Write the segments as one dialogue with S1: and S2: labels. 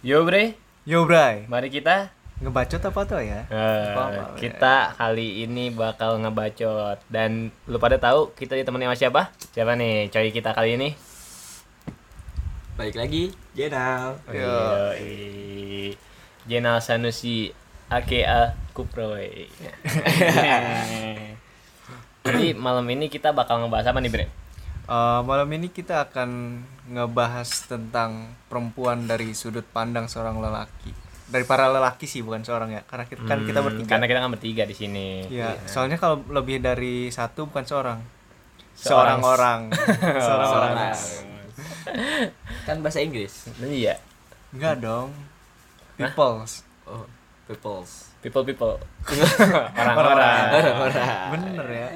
S1: Yo Bre,
S2: Yo Bray,
S1: mari kita.
S2: ngebacot apa tuh ya?
S1: Eh,
S2: Apa-apa, Bre?
S1: kita kali ini bakal ngebacot dan lu pada tahu kita ditemani sama siapa? Siapa nih coy kita kali ini?
S3: Balik lagi, Jenal.
S2: Yo.
S1: Yoi. Oh, iya, Jenal Sanusi aka Kuproy. Jadi malam ini kita bakal ngebahas apa nih Bre?
S2: Eh, malam ini kita akan ngebahas tentang perempuan dari sudut pandang seorang lelaki. Dari para lelaki sih bukan seorang ya, karena kita, kan kita
S1: Hmm,
S2: bertiga.
S1: Karena kita kan bertiga di sini.
S2: Ya, soalnya kalau lebih dari satu bukan seorang.
S1: Seorang.
S2: Seorang orang. seorang orang.
S3: Kan bahasa Inggris.
S1: Iya.
S2: Enggak dong. Peoples.
S3: Oh, peoples.
S1: People people.
S2: Orang-orang.
S1: Orang-orang.
S2: Bener ya.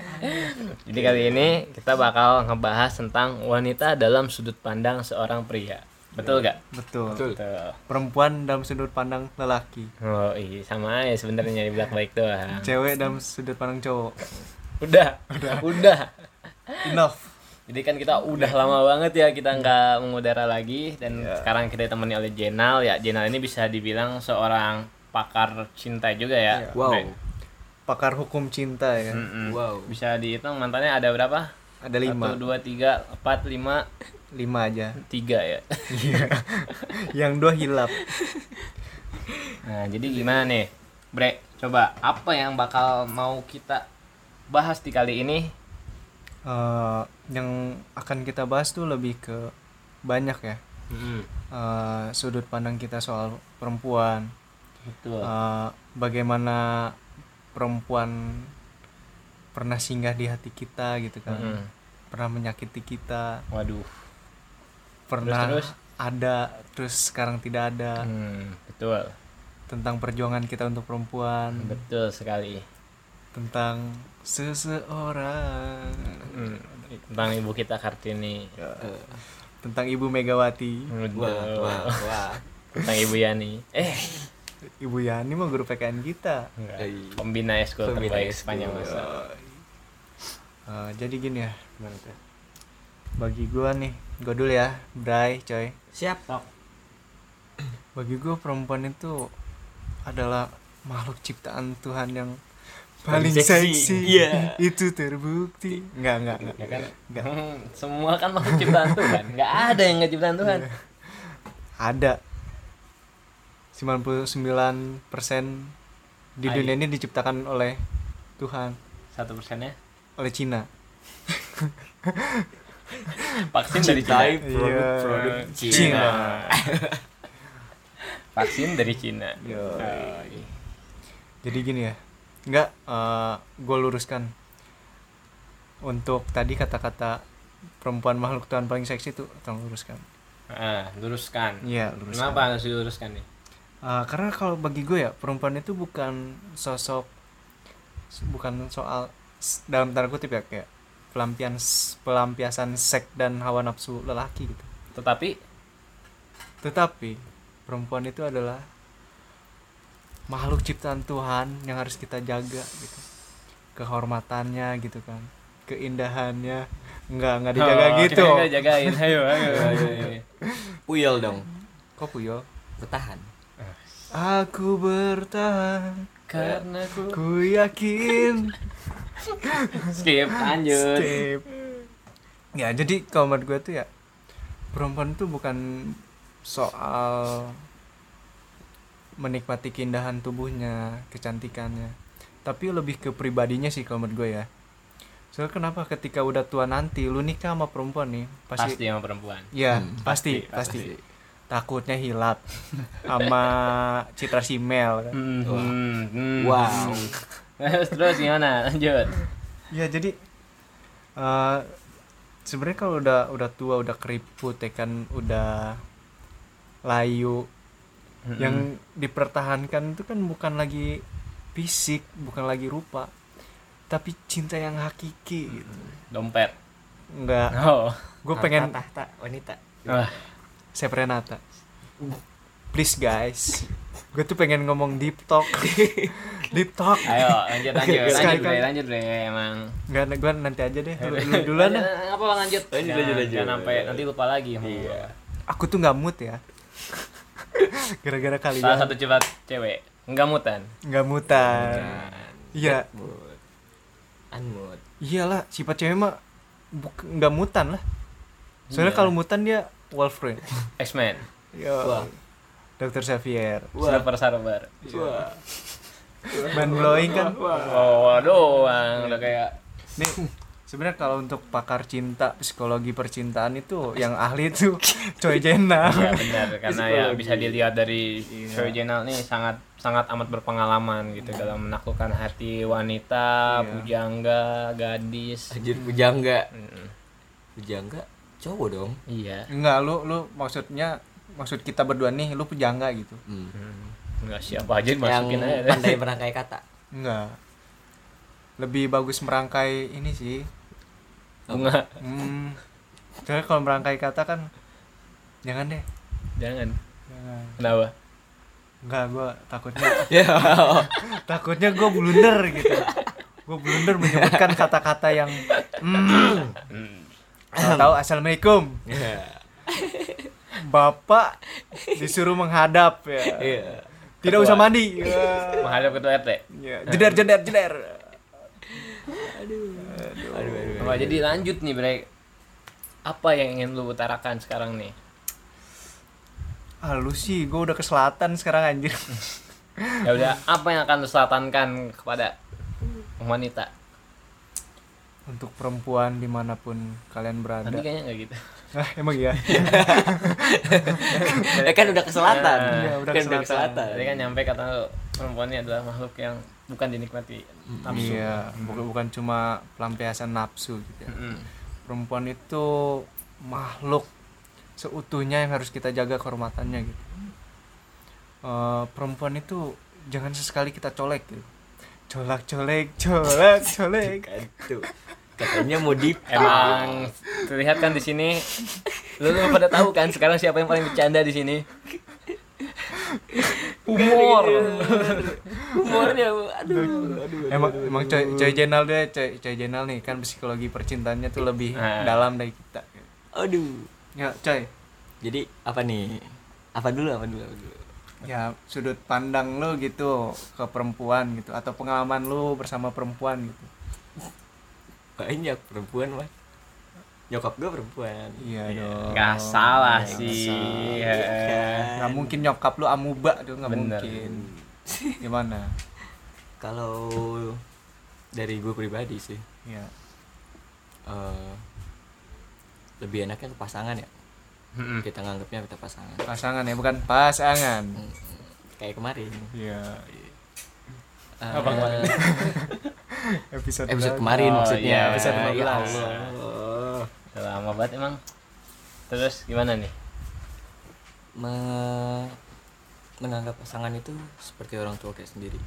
S1: Jadi kali ini kita bakal ngebahas tentang wanita dalam sudut pandang seorang pria. Betul gak?
S2: Betul.
S3: Betul.
S1: Betul.
S2: Perempuan dalam sudut pandang lelaki.
S1: Oh iya sama aja sebenarnya di baik doang.
S2: Cewek dalam sudut pandang cowok.
S1: Udah, udah, udah.
S2: Enough.
S1: Jadi kan kita udah lama banget ya kita nggak mengudara lagi dan
S2: Iya.
S1: sekarang kita ditemani oleh Jenal ya. Jenal ini bisa dibilang seorang pakar cinta juga ya.
S3: Wow.
S1: Bre.
S2: Pakar hukum cinta ya.
S1: Mm-mm.
S3: Wow.
S1: Bisa dihitung mantannya ada berapa?
S2: Ada lima.
S1: Satu, dua, tiga, empat, lima,
S2: lima aja
S1: tiga ya.
S2: yang dua hilap
S1: Nah, jadi gimana nih? Bre, coba apa yang bakal mau kita bahas di kali ini?
S2: Eh, yang akan kita bahas tuh lebih ke banyak ya Eh, sudut pandang kita soal perempuan
S1: Betul.
S2: Eh, bagaimana perempuan pernah singgah di hati kita gitu kan
S1: Mm-mm.
S2: pernah menyakiti kita
S1: Hmm. Waduh.
S2: pernah
S1: Terus-terus?
S2: ada terus sekarang tidak ada
S1: Hmm, betul.
S2: tentang perjuangan kita untuk perempuan
S1: Betul sekali.
S2: tentang seseorang
S1: Hmm, Tentang ibu kita Kartini.
S2: tentang ibu
S1: Mm-hmm.
S2: Megawati
S3: Eh, Wah,
S1: Betul.
S3: wah, wah.
S1: Tentang ibu Yani. Eh,
S2: Ibu Yani mah guru PKN kita.
S1: enggak.
S3: Hey.
S1: Pembina eskul
S3: Pembina
S1: terbaik
S3: eskul.
S1: sepanjang masa.
S2: Eh, jadi gini ya, bagi gua nih, gua dulu ya, Bray, coy.
S3: Siap.
S2: Bagi gua perempuan itu adalah makhluk ciptaan Tuhan yang paling
S3: Paling seksi.
S2: seksi.
S3: Iya.
S2: Itu terbukti. Enggak, enggak, enggak.
S1: Ya kan?
S2: Enggak.
S1: Hmm, semua kan makhluk ciptaan Tuhan. Enggak ada yang enggak ciptaan Tuhan.
S2: Ada 99% di
S1: Ai.
S2: dunia ini diciptakan oleh Tuhan,
S1: Satu persennya
S2: oleh Cina.
S1: vaksin dari Cina.
S3: Cintai produk-produk
S1: Iya.
S3: Cina.
S1: Vaksin dari Cina. Yoi.
S2: Jadi gini ya, nggak, gue luruskan untuk tadi kata-kata perempuan makhluk Tuhan paling seksi itu tolong luruskan.
S1: Ah, luruskan.
S2: Iya luruskan.
S1: Kenapa harus diluruskan nih?
S2: Eh, karena kalau bagi gue ya perempuan itu bukan sosok, bukan soal s- dalam tanda kutip ya kayak pelampian pelampiasan seks dan hawa nafsu lelaki gitu.
S1: Tetapi
S2: Tetapi perempuan itu adalah makhluk ciptaan Tuhan yang harus kita jaga gitu. Kehormatannya gitu kan. Keindahannya enggak enggak dijaga
S1: Oh,
S2: gitu. Iya,
S1: Kita jagain. Ayo, ayo, ayo. ayo.
S3: Puyol dong.
S2: Kok Puyo?
S3: Bertahan.
S2: Aku bertahan,
S1: Karena aku
S2: ku yakin.
S1: skip lanjut.
S2: Skip. Ya, jadi kalau menurut gue tuh ya perempuan tuh bukan soal menikmati keindahan tubuhnya, kecantikannya, tapi lebih ke pribadinya sih kalau menurut gue ya. Soalnya kenapa ketika udah tua nanti lu nikah sama perempuan nih,
S1: Pasti,
S2: pasti,
S1: sama perempuan.
S2: ya
S3: Hmm,
S2: pasti, pasti,
S1: pasti,
S2: takutnya hilap sama citra si Mel. Kan.
S1: Hmm,
S3: Wah.
S1: hmm,
S2: Mm-hmm.
S1: hmm.
S3: Wow.
S1: Terus terus gimana? Lanjut.
S2: Ya jadi eh sebenarnya kalau udah udah tua udah keriput ya kan udah layu
S1: Mm-mm.
S2: yang dipertahankan itu kan bukan lagi fisik bukan lagi rupa tapi cinta yang hakiki gitu
S1: dompet.
S2: nggak
S1: Oh.
S3: Ah,
S2: gue pengen
S3: tahta wanita.
S1: Wah,
S2: Seprenata
S1: Uh.
S2: please guys gue tuh pengen ngomong deep talk deep talk
S1: ayo lanjut lanjut lanjut
S2: Sekali
S1: bre,
S2: kali.
S1: lanjut bre emang.
S2: nggak gue nanti aja deh Lu- lu duluan dah.
S1: Lanjut, Apa Eh, lanjut? Iya.
S3: Eh, Lanjut,
S1: Jangan-
S3: lanjut, lanjut.
S1: Jangan sampai nanti lupa lagi.
S3: Iya.
S2: aku tuh nggak mood ya gara-gara
S1: Salah
S2: kalian
S1: satu cepat cewek nggak mutan. Nah,
S2: nggak mutan
S3: Bukan.
S2: iya
S3: Mood. Unmood.
S2: iyalah sifat cewek mah buk- nggak mutan lah soalnya
S1: Iya.
S2: kalau mutan dia Wolverine
S1: X-Men.
S2: ya
S3: Wah.
S2: Dokter Xavier
S3: Wah.
S1: Silver Sarbar.
S3: Wah.
S2: Mind blowing kan?
S1: Oh, doang udah kayak
S2: nih sebenarnya kalau untuk pakar cinta psikologi percintaan itu yang ahli itu Choi Jena
S1: ya benar karena ya
S3: Psikologi.
S1: bisa dilihat dari
S2: Iya. Hmm.
S1: Choi Jenal nih sangat sangat amat berpengalaman gitu dalam menaklukkan hati wanita,
S2: Iya.
S1: pujangga, gadis.
S3: Anjir pujangga.
S1: Mm-mm.
S3: Pujangga cowok dong.
S1: Iya.
S2: enggak lu lu maksudnya maksud kita berdua nih lu pujangga gitu
S3: Hmm.
S1: Enggak siapa aja
S3: Yang
S1: masukin aja. deh.
S3: pandai merangkai kata.
S2: enggak lebih bagus merangkai ini sih
S1: Bunga.
S2: hmm soalnya kalau merangkai kata kan jangan deh
S1: Jangan.
S2: jangan
S1: Kenapa?
S2: enggak gua takutnya
S3: Ya.
S2: takutnya gua blunder gitu gua blunder menyebutkan kata-kata yang hmm, tahu
S1: Hmm.
S2: assalamualaikum
S3: Iya.
S2: Bapak disuruh menghadap ya.
S3: Iya.
S2: Tidak usah mandi.
S1: Menghadap ketua RT.
S2: Ya. Jeder jeder jeder.
S3: Aduh, aduh,
S1: Wah, jadi lanjut nih, Bre. Apa yang ingin lu utarakan sekarang nih?
S2: Ah lu sih, gue udah ke selatan sekarang anjir.
S1: Ya udah, apa yang akan lu selatankan kepada wanita?
S2: Untuk perempuan dimanapun kalian
S1: Tadi
S2: berada.
S1: kayaknya nggak gitu.
S2: Hah, emang ya?
S3: Ya kan udah ke selatan.
S1: Nah,
S2: Iya, udah
S3: Kan
S2: ke
S3: udah ke selatan.
S1: Tadi kan nyampe kata lu perempuan ini adalah makhluk yang bukan dinikmati nafsu.
S2: Iya, bukan bukan cuma pelampiasan nafsu gitu. ya.
S1: Mm-mm.
S2: Perempuan itu makhluk seutuhnya yang harus kita jaga kehormatannya gitu. Eh, perempuan itu jangan sesekali kita colek gitu. Colak colek colak colek.
S3: Aduh. Katanya mau di
S1: Emang terlihat kan di sini lu, lu pada tahu kan sekarang siapa yang paling bercanda di sini? Humor.
S3: humornya. Aduh. Aduh. aduh.
S2: emang emang coy coy jenal deh coy coy jenal nih kan psikologi percintanya tuh lebih
S1: Nah.
S2: dalam dari kita
S3: Aduh.
S2: ya coy
S3: Jadi apa nih? Apa dulu? Apa dulu? Apa dulu?
S2: ya sudut pandang lu gitu ke perempuan gitu atau pengalaman lu bersama perempuan gitu
S3: Banyak perempuan mah. Nyokap gue perempuan.
S2: iya dong
S1: Gak salah sih.
S3: Iya kan?
S2: nggak mungkin nyokap lu amuba tuh nggak
S1: Bener.
S2: mungkin gimana
S3: Kalau dari gue pribadi sih,
S2: ya
S3: eh, lebih enaknya ke pasangan ya.
S1: Mm-mm.
S3: Kita nganggapnya kita pasangan. Hmm,
S2: pasangan ya bukan pasangan
S3: Kayak kemarin.
S2: ya
S3: Eh,
S1: Apa kemarin?
S2: episode,
S3: Episode
S2: lagi.
S3: kemarin
S1: Oh,
S3: maksudnya.
S1: iya, episode
S3: Ya
S1: 15.
S3: Allah.
S1: Lama banget emang. Terus gimana nih?
S3: Me- menganggap pasangan itu seperti orang tua kayak sendiri.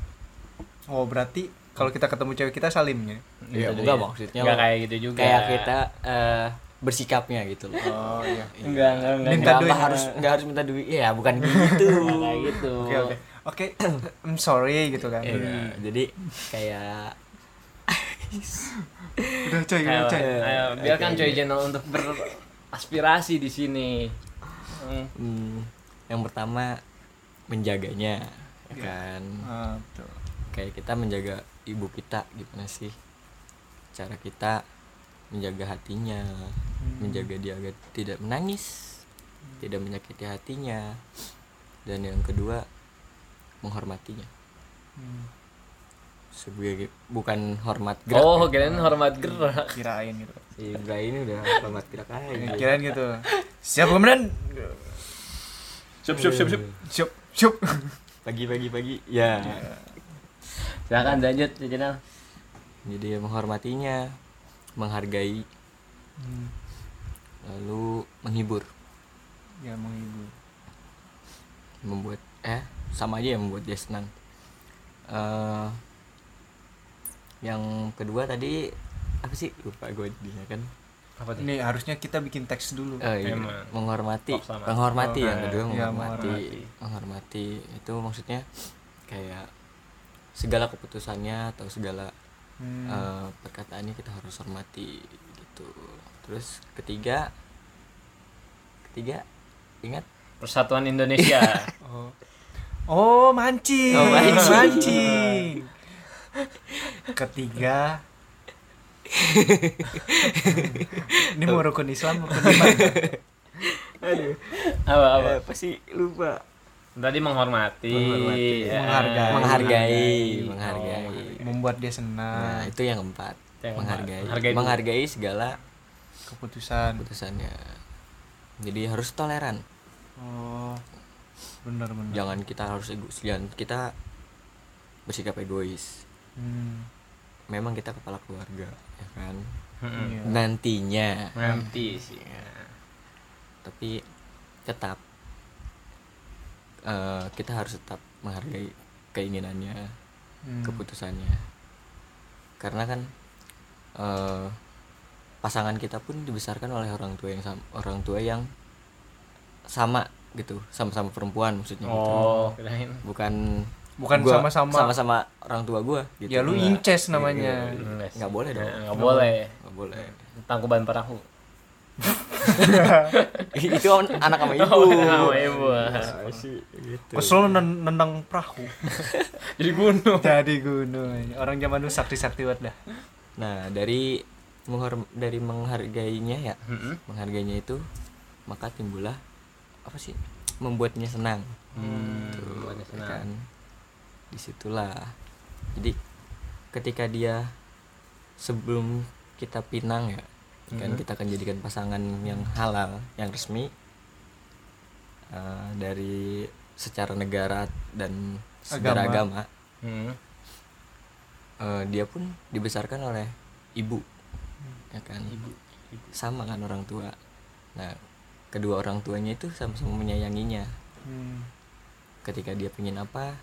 S2: oh berarti kalau kita ketemu cewek kita salimnya
S3: Iya,
S1: Gitu
S3: enggak
S1: dia.
S3: maksudnya
S1: Enggak kayak gitu juga.
S3: Kayak kita eh, bersikapnya gitu loh.
S2: oh iya
S1: enggak enggak enggak.
S2: Minta
S3: Nggak-
S2: duit.
S3: nggak harus nggak harus minta duit. Ya, bukan gitu.
S1: Enggak kayak gitu.
S2: oke oke oke I'm sorry gitu kan
S3: Iya, jadi kayak
S2: udah coy udah
S1: Ayo,
S2: coy
S1: ayo, biarkan Coy Channel untuk beraspirasi di sini. Hmm.
S3: hmm, yang pertama menjaganya ya
S2: Iya.
S3: kan
S2: Ah, betul.
S3: kayak kita menjaga ibu kita gimana sih cara kita menjaga hatinya menjaga dia agar tidak menangis tidak menyakiti hatinya dan yang kedua menghormatinya
S2: Hmm,
S3: sebagai bukan hormat gerak
S1: Oh, kalian hormat gerak.
S2: kirain gitu
S3: Ibra ini udah hormat gerak aja
S2: kirain gitu siap kemudian
S1: Siap, siap, siap, siap.
S2: siap siap
S3: pagi pagi pagi ya
S1: Silakan lanjut Coy Channel.
S3: jadi menghormatinya menghargai
S2: Hmm,
S3: lalu menghibur
S2: ya menghibur
S3: membuat eh sama aja yang membuat dia senang Eh, yang kedua tadi apa sih lupa gue jadinya kan
S1: Apa tuh?
S2: ini harusnya kita bikin teks dulu
S3: Eh, iya.
S1: Emang.
S3: menghormati
S1: Oh, selamat.
S3: menghormati
S1: Oh,
S3: yang
S1: eh,
S3: kedua
S2: iya,
S3: menghormati.
S1: menghormati.
S3: menghormati itu maksudnya kayak segala keputusannya atau segala
S2: Hmm,
S3: eh, perkataannya kita harus hormati gitu terus ketiga ketiga ingat
S1: Persatuan Indonesia.
S2: Oh. Oh, mancing.
S3: Oh, mancing.
S2: Mancing. Ketiga. Ini mau rukun Islam, rukun iman.
S1: apa apa
S3: Eh, pasti lupa
S1: tadi menghormati, Oh,
S3: Menghormati.
S1: ya.
S2: Menghargai.
S3: menghargai
S1: Menghargai.
S3: menghargai
S2: Membuat dia senang.
S3: nah itu yang keempat
S1: Yang keempat.
S3: menghargai
S1: Iya, Menghargai
S3: menghargai,
S1: dulu.
S3: segala
S2: Keputusan.
S3: keputusannya jadi harus toleran
S2: Oh. Benar benar.
S3: jangan kita harus egois jangan kita bersikap egois
S2: Hmm.
S3: memang kita kepala keluarga ya kan
S1: Mm-mm.
S2: Iya.
S3: Nah, nantinya
S1: nanti Hmm. sih ya.
S3: Iya. tapi tetap eh, kita harus tetap menghargai keinginannya
S2: Hmm.
S3: keputusannya karena kan eh, pasangan kita pun dibesarkan oleh orang tua yang sama, orang tua yang sama gitu sama-sama perempuan maksudnya gitu.
S1: oh kirain
S3: bukan
S2: Bukan
S3: gua
S2: sama-sama.
S3: sama-sama orang tua gua gitu
S2: Ya lu
S3: Nggak.
S2: inces namanya.
S1: Enggak sih.
S3: Nggak boleh dong.
S1: Nah, nggak boleh
S3: iya. Nggak boleh
S1: tangkuban perahu
S3: itu an- anak sama ibu Iya.
S1: Oh, sama ibu.
S3: sih gitu
S2: Kesel nen- nendang perahu.
S1: jadi gunung
S2: Jadi gunung. Orang zaman dulu sakti-sakti banget dah.
S3: nah dari menghorm dari menghargainya ya
S1: Mm-mm.
S3: menghargainya itu maka timbullah apa sih membuatnya senang
S1: Hmm,
S3: Tuh,
S1: buatnya
S3: ya
S1: senang.
S3: kan disitulah jadi ketika dia sebelum kita pinang ya ya
S1: Mhm.
S3: kan kita akan jadikan pasangan yang halal yang resmi eh, dari secara negara dan secara agama,
S2: Agama.
S1: Hmm.
S3: eh, dia pun dibesarkan oleh ibu ya kan sama kan orang tua nah kedua orang tuanya itu sama-sama menyayanginya
S2: Hmm.
S3: ketika dia pengen apa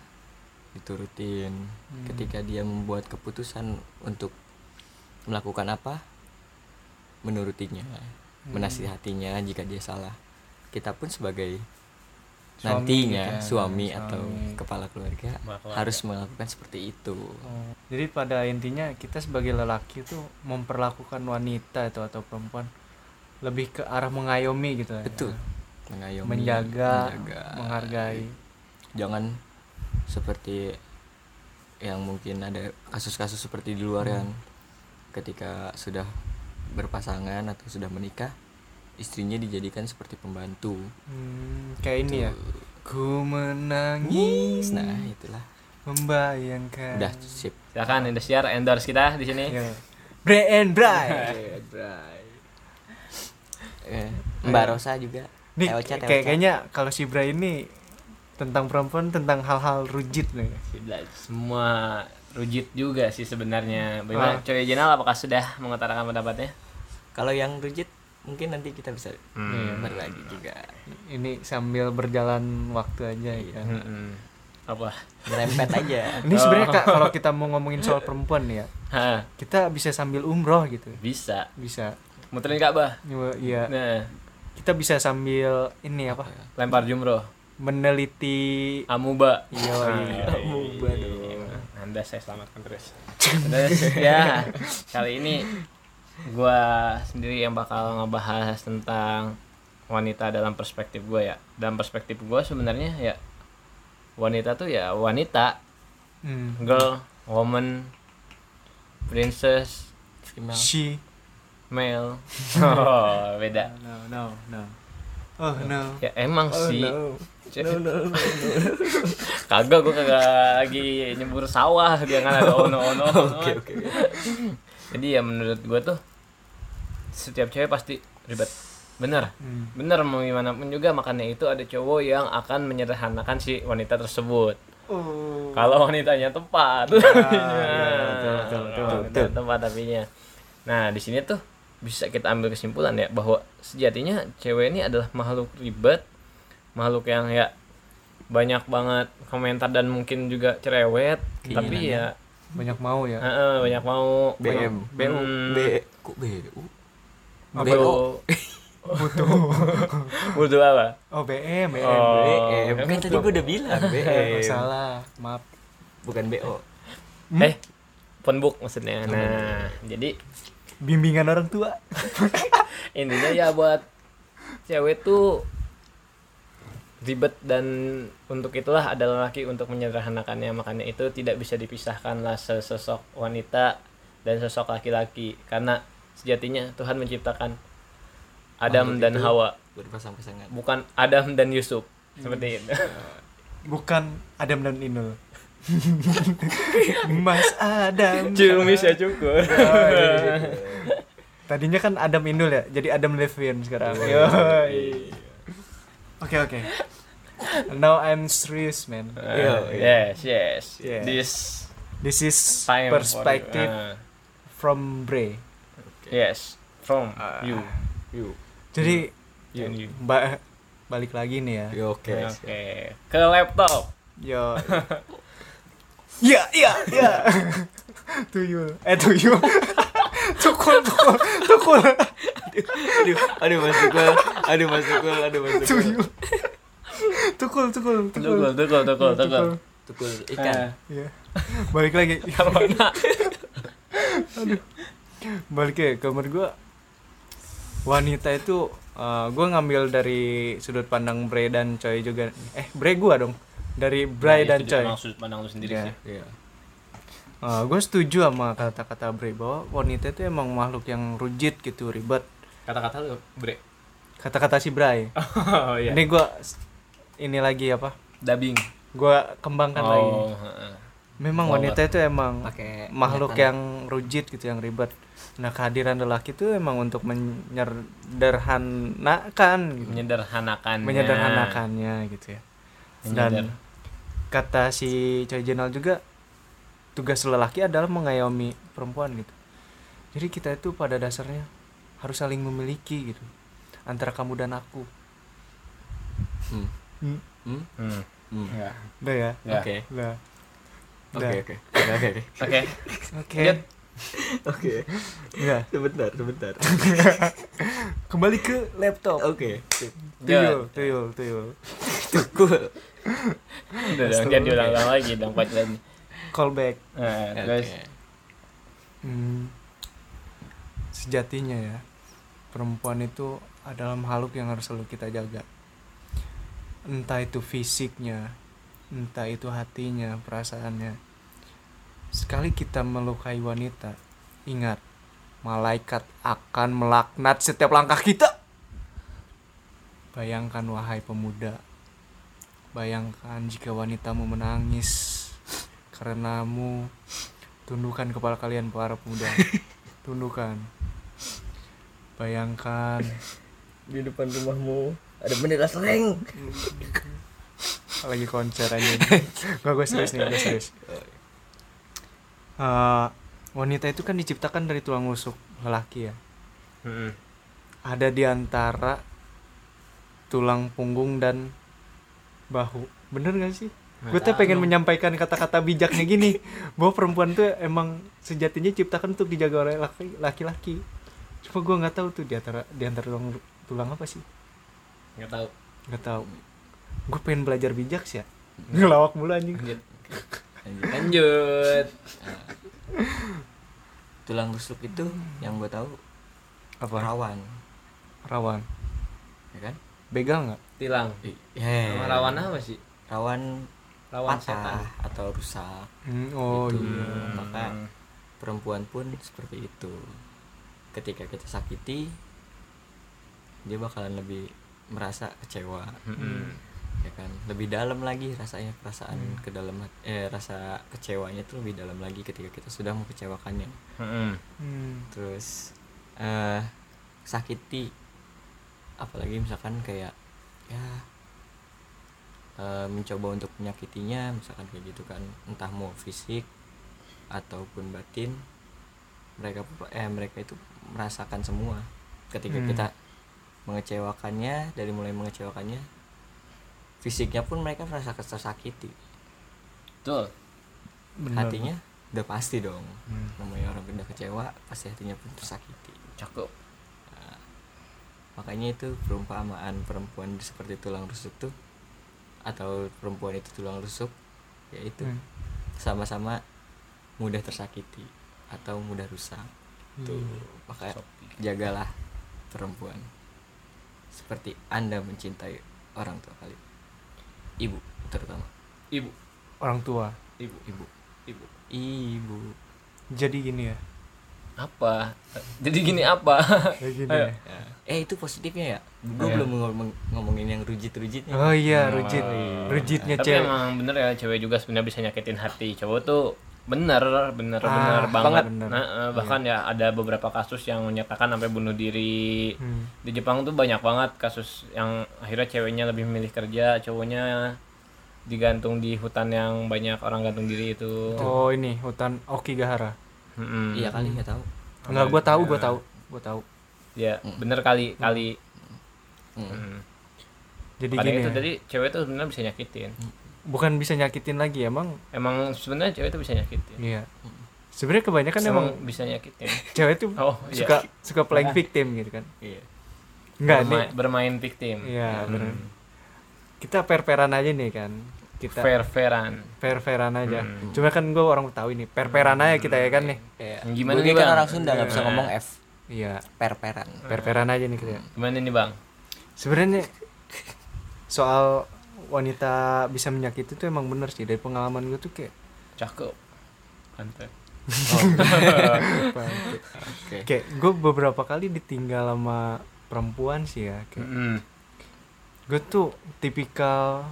S3: diturutin
S2: Hmm.
S3: ketika dia membuat keputusan untuk melakukan apa menurutinya menasihatinya jika dia salah kita pun sebagai
S2: Suami
S3: nantinya
S2: gitu ya,
S3: suami,
S2: suami.
S3: atau kepala keluarga
S1: Kepala keluarga.
S3: harus melakukan seperti itu
S2: Oh, Jadi pada intinya kita sebagai lelaki tuh memperlakukan wanita itu atau perempuan lebih ke arah mengayomi gitu ya.
S3: betul mengayomi
S2: Menjaga,
S3: menjaga.
S2: menghargai.
S3: jangan seperti yang mungkin ada kasus-kasus seperti di luar yang ketika sudah berpasangan atau sudah menikah istrinya dijadikan seperti pembantu
S2: Hmm, kayak ini ya. Ku menangis
S3: Yes, nah itulah
S2: membayangkan.
S3: udah sip
S1: silakan Indosiar endorse kita di
S3: Iya.
S1: sini
S2: Ya. Bray and Bray.
S3: Eh, Mbak Rosa juga
S2: Nih,
S3: Elcat,
S2: kayak-
S3: Elcat.
S2: kayaknya kalau si Bray ini tentang perempuan tentang hal-hal rujit nih.
S1: semua rujit juga sih sebenarnya bagaimana
S2: Ah.
S1: Coy Jenal apakah sudah mengutarakan pendapatnya
S3: kalau yang rujit mungkin nanti kita bisa berbagi juga
S2: Ini sambil berjalan waktu aja
S3: Iya.
S2: ya. kan.
S1: Mm-mm. apa
S3: merempet aja
S2: Ini sebenarnya Kak, kalau kita mau ngomongin soal perempuan nih ya,
S1: Hah,
S2: kita bisa sambil umroh gitu.
S1: bisa
S2: Bisa.
S1: muterin Ka'bah
S2: Nyewa- Iya.
S1: nah
S2: Kita bisa sambil ini apa? ya?
S1: lempar jumroh
S2: Meneliti
S1: amuba
S2: Iya, iya.
S1: amuba dong anda iya, saya selamatkan terus terus ya kali ini gua sendiri yang bakal ngebahas tentang wanita dalam perspektif gua ya dalam perspektif gua sebenarnya ya wanita tuh ya wanita
S2: hmm,
S1: girl woman princess
S3: Female.
S2: she
S1: male oh beda
S2: no no no. Oh no. Oh,
S1: ya emang sih
S3: no no no
S1: kagak gua kagak lagi nyembur sawah dia kan ada ono ono
S3: oke oke
S1: jadi ya menurut gua tuh setiap cewek pasti ribet bener
S2: Hmm.
S1: bener mau gimana pun juga makanya itu ada cowok yang akan menyederhanakan si wanita tersebut
S2: Oh.
S1: kalau wanitanya tepat
S2: Ah, iya, betul, betul, betul,
S1: Kalau wanitanya tepat tapinya nah di sini tuh bisa kita ambil kesimpulan ya bahwa sejatinya cewek ini adalah makhluk ribet makhluk yang ya banyak banget komentar dan mungkin juga cerewet tapi ya
S2: Banyak mau ya.
S1: eh, eh, banyak mau
S3: BM
S1: BU.
S3: B kok BU BO
S1: butuh butuh apa
S2: Oh BM, BM.
S1: Oh.
S3: BM kan tadi gue udah bilang
S2: Eh,
S3: BM
S2: salah. Maaf.
S3: bukan BO
S2: Hmm?
S1: eh phonebook maksudnya nah jadi
S2: Bimbingan orang tua.
S1: intinya ya buat cewek tuh ribet dan untuk itulah ada lelaki untuk menyederhanakannya makanya itu tidak bisa dipisahkanlah sesosok wanita dan sosok laki-laki karena sejatinya Tuhan menciptakan Adam
S3: Makhluk
S1: dan
S3: itu.
S1: Hawa
S3: berpasang-pasangan
S1: bukan Adam dan Yusuf seperti itu
S2: bukan Adam dan Inul Mas Adam
S1: Ciumis ya cukur
S2: tadinya kan Adam Inul ya jadi Adam Levine sekarang
S3: Yoi.
S2: Yoi. oke oke now I'm serious man
S1: Uh, yes yes
S2: Yeah.
S1: this
S2: this is
S1: time for you.
S2: perspective
S1: Uh,
S2: from Bray
S1: yes from
S2: Ah.
S1: you
S3: yuk
S2: jadi
S1: you and you
S2: ba- balik lagi nih ya
S3: yuk oke
S1: oke ke laptop
S2: yo ya ya ya tuyul eh tuyul tukul tukul tukul
S3: aduh aduh masuk gua aduh masuk gua aduh masuk gua
S2: tuyul tukul tukul tukul
S1: tukul tukul tukul Hmm, tukul
S3: tukul ikan
S2: Iya. balik lagi
S1: Ke mana?
S2: balik ya kamar gue wanita itu gue ngambil dari sudut pandang Bray dan Coy juga eh Bray gue dong dari
S1: Nah,
S2: Bray dan Coy
S1: Emang sudut pandang lu sendiri
S2: Iya.
S1: sih.
S3: iya
S2: gue Eh, setuju sama kata-kata Bray bahwa wanita itu emang makhluk yang rujit gitu ribet
S1: Kata-kata lu, Bre.
S2: kata-kata si Bray
S1: Oh
S2: ini gue ini lagi apa
S1: Dubbing.
S2: gue kembangkan lagi
S1: Oh, heeh.
S2: memang
S1: Mau
S2: wanita itu emang
S3: pakai
S2: makhluk yang rujit gitu yang ribet nah kehadiran lelaki itu emang untuk menyederhanakan gitu.
S1: menyederhanakan.
S2: menyederhanakannya gitu ya
S1: Menyeder.
S2: dan kata si Choi Jenal juga tugas lelaki adalah mengayomi perempuan gitu jadi kita itu pada dasarnya harus saling memiliki gitu antara kamu dan aku
S3: hmm.
S2: Hmm,
S3: Hmm?
S1: Hmm.
S3: Hmm.
S1: Ya.
S2: udah ya
S1: Ya.
S3: oke
S2: udah
S3: oke
S2: Udah.
S3: oke oke oke oke.
S1: Oke.
S2: oke
S1: Lanjut.
S3: oke
S2: udah
S3: sebentar sebentar
S2: kembali ke laptop
S3: oke
S2: tuyul tuyul tuyul
S3: tukul
S1: Udah dong, jangan diulang-ulang lagi dong pacaran.
S2: callback
S1: Nah, terus
S3: Oke.
S2: Hmm, sejatinya ya perempuan itu adalah makhluk yang harus selalu kita jaga entah itu fisiknya entah itu hatinya perasaannya sekali kita melukai wanita ingat malaikat akan melaknat setiap langkah kita bayangkan wahai pemuda bayangkan jika wanitamu menangis karenamu Tundukkan kepala kalian para pemuda. Tundukkan. Bayangkan
S3: di depan rumahmu ada bendera seleng
S2: lagi konser aja. Gak gue serius nih, gue serius. Eh, wanita itu kan diciptakan dari tulang rusuk lelaki ya.
S1: heeh.
S2: Ada di antara tulang punggung dan bahu. Bener gak sih? Gue tuh pengen menyampaikan kata-kata bijaknya gini Bahwa perempuan tuh emang sejatinya ciptakan untuk dijaga oleh laki- laki-laki Cuma gue gak tahu tuh di antara, di antara tulang, tulang apa sih
S1: Enggak tahu.
S2: Gak tahu Gue pengen belajar bijak sih ya Ngelawak mulu anjing
S1: Lanjut.
S3: Lanjut.
S1: Lanjut.
S3: tulang rusuk itu yang gue tahu
S2: Apa?
S3: rawan
S2: Rawan
S3: ya kan
S2: Begal gak?
S1: Tilang.
S3: yeah.
S1: Sama rawan apa sih?
S3: Iya. rawan
S1: Rawan
S3: patah
S1: setan.
S3: atau rusak
S2: Hmm, oh
S3: Gitu.
S2: iya
S1: Hmm.
S3: Maka perempuan pun seperti itu ketika kita sakiti dia bakalan lebih merasa kecewa
S1: Heeh.
S3: ya kan lebih dalam lagi rasanya perasaan
S2: Hmm.
S3: ke dalam hat- eh rasa kecewanya tuh lebih dalam lagi ketika kita sudah mengecewakannya
S1: Heeh.
S2: Hmm,
S3: terus eh sakiti apalagi misalkan kayak ya eh, mencoba untuk menyakitinya misalkan kayak gitu kan entah mau fisik ataupun batin mereka eh mereka itu merasakan semua ketika
S2: Hmm.
S3: kita mengecewakannya dari mulai mengecewakannya fisiknya pun mereka merasa tersakiti
S1: Betul.
S2: bener.
S3: hatinya udah pasti dong
S2: Hmm.
S3: namanya orang udah kecewa pasti hatinya pun tersakiti
S1: Cakep.
S3: Nah, makanya itu perumpamaan perempuan seperti tulang rusuk tuh atau perempuan itu tulang rusuk yaitu
S2: Hmm.
S3: sama-sama mudah tersakiti atau mudah rusak tuh makanya jagalah perempuan seperti anda mencintai orang tua kalian ibu terutama
S1: ibu
S2: orang tua
S1: ibu
S3: ibu
S1: ibu
S3: ibu
S2: jadi gini ya
S1: apa jadi gini apa
S2: kayak gini
S1: Ayo.
S2: ya.
S3: eh itu positifnya ya gue
S1: Iya.
S3: belum ngomong- ngomongin yang rujit-rujitnya
S2: oh iya
S1: Oh,
S2: rujit
S1: iya.
S2: rujitnya
S1: tapi
S2: cewek
S1: emang bener ya cewek juga sebenarnya bisa nyakitin hati cowok tuh bener bener
S2: Ah,
S1: bener banget
S2: banget. Bener. Iya.
S1: Nah, eh, bahkan ya ada beberapa kasus yang menyatakan sampai bunuh diri
S2: Hmm.
S1: di Jepang tuh banyak banget kasus yang akhirnya ceweknya lebih memilih kerja cowoknya digantung di hutan yang banyak orang gantung diri itu
S2: oh ini hutan Okigahara
S1: Mm-mm.
S3: iya kali nggak tahu
S2: Enggak, gue tahu, gue tahu, gue tahu.
S1: Iya, bener kali
S2: Hmm.
S1: kali
S3: Mm.
S1: Mm.
S2: Jadi
S1: Makanya
S2: gini,
S1: itu
S2: ya, Hmm.
S1: jadi cewek tuh sebenarnya bisa nyakitin
S2: bukan bisa nyakitin lagi emang.
S1: emang sebenarnya cewek tuh bisa nyakitin
S2: Iya. Sebenarnya kebanyakan Kan emang
S1: emang bisa nyakitin
S2: cewek tuh
S1: oh iya
S2: suka suka playing victim gitu kan.
S3: iya
S2: Enggak nih.
S1: bermain, bermain victim
S2: Iya,
S1: Hmm.
S2: bener. Kita per-peran aja nih kan. Kita
S1: fair-fairan
S2: per-peran aja.
S1: Hmm.
S2: Cuma kan gue orang Betawi nih, per-peran aja kita ya kan nih.
S3: Iya.
S1: Gimana
S3: Gua
S1: nih,
S3: kan
S1: Bang?
S3: orang Sunda nggak bisa
S1: Iya.
S3: ngomong F
S2: Iya,
S3: per-peran
S2: per-peran aja nih kita.
S1: gimana nih bang
S2: Sebenarnya soal wanita bisa menyakiti tuh emang bener sih dari pengalaman gue tuh kayak
S1: cakep mantap
S2: gitu.
S3: oke
S2: kayak gue beberapa kali ditinggal sama perempuan sih ya kayak
S1: Mm-mm.
S2: gue tuh tipikal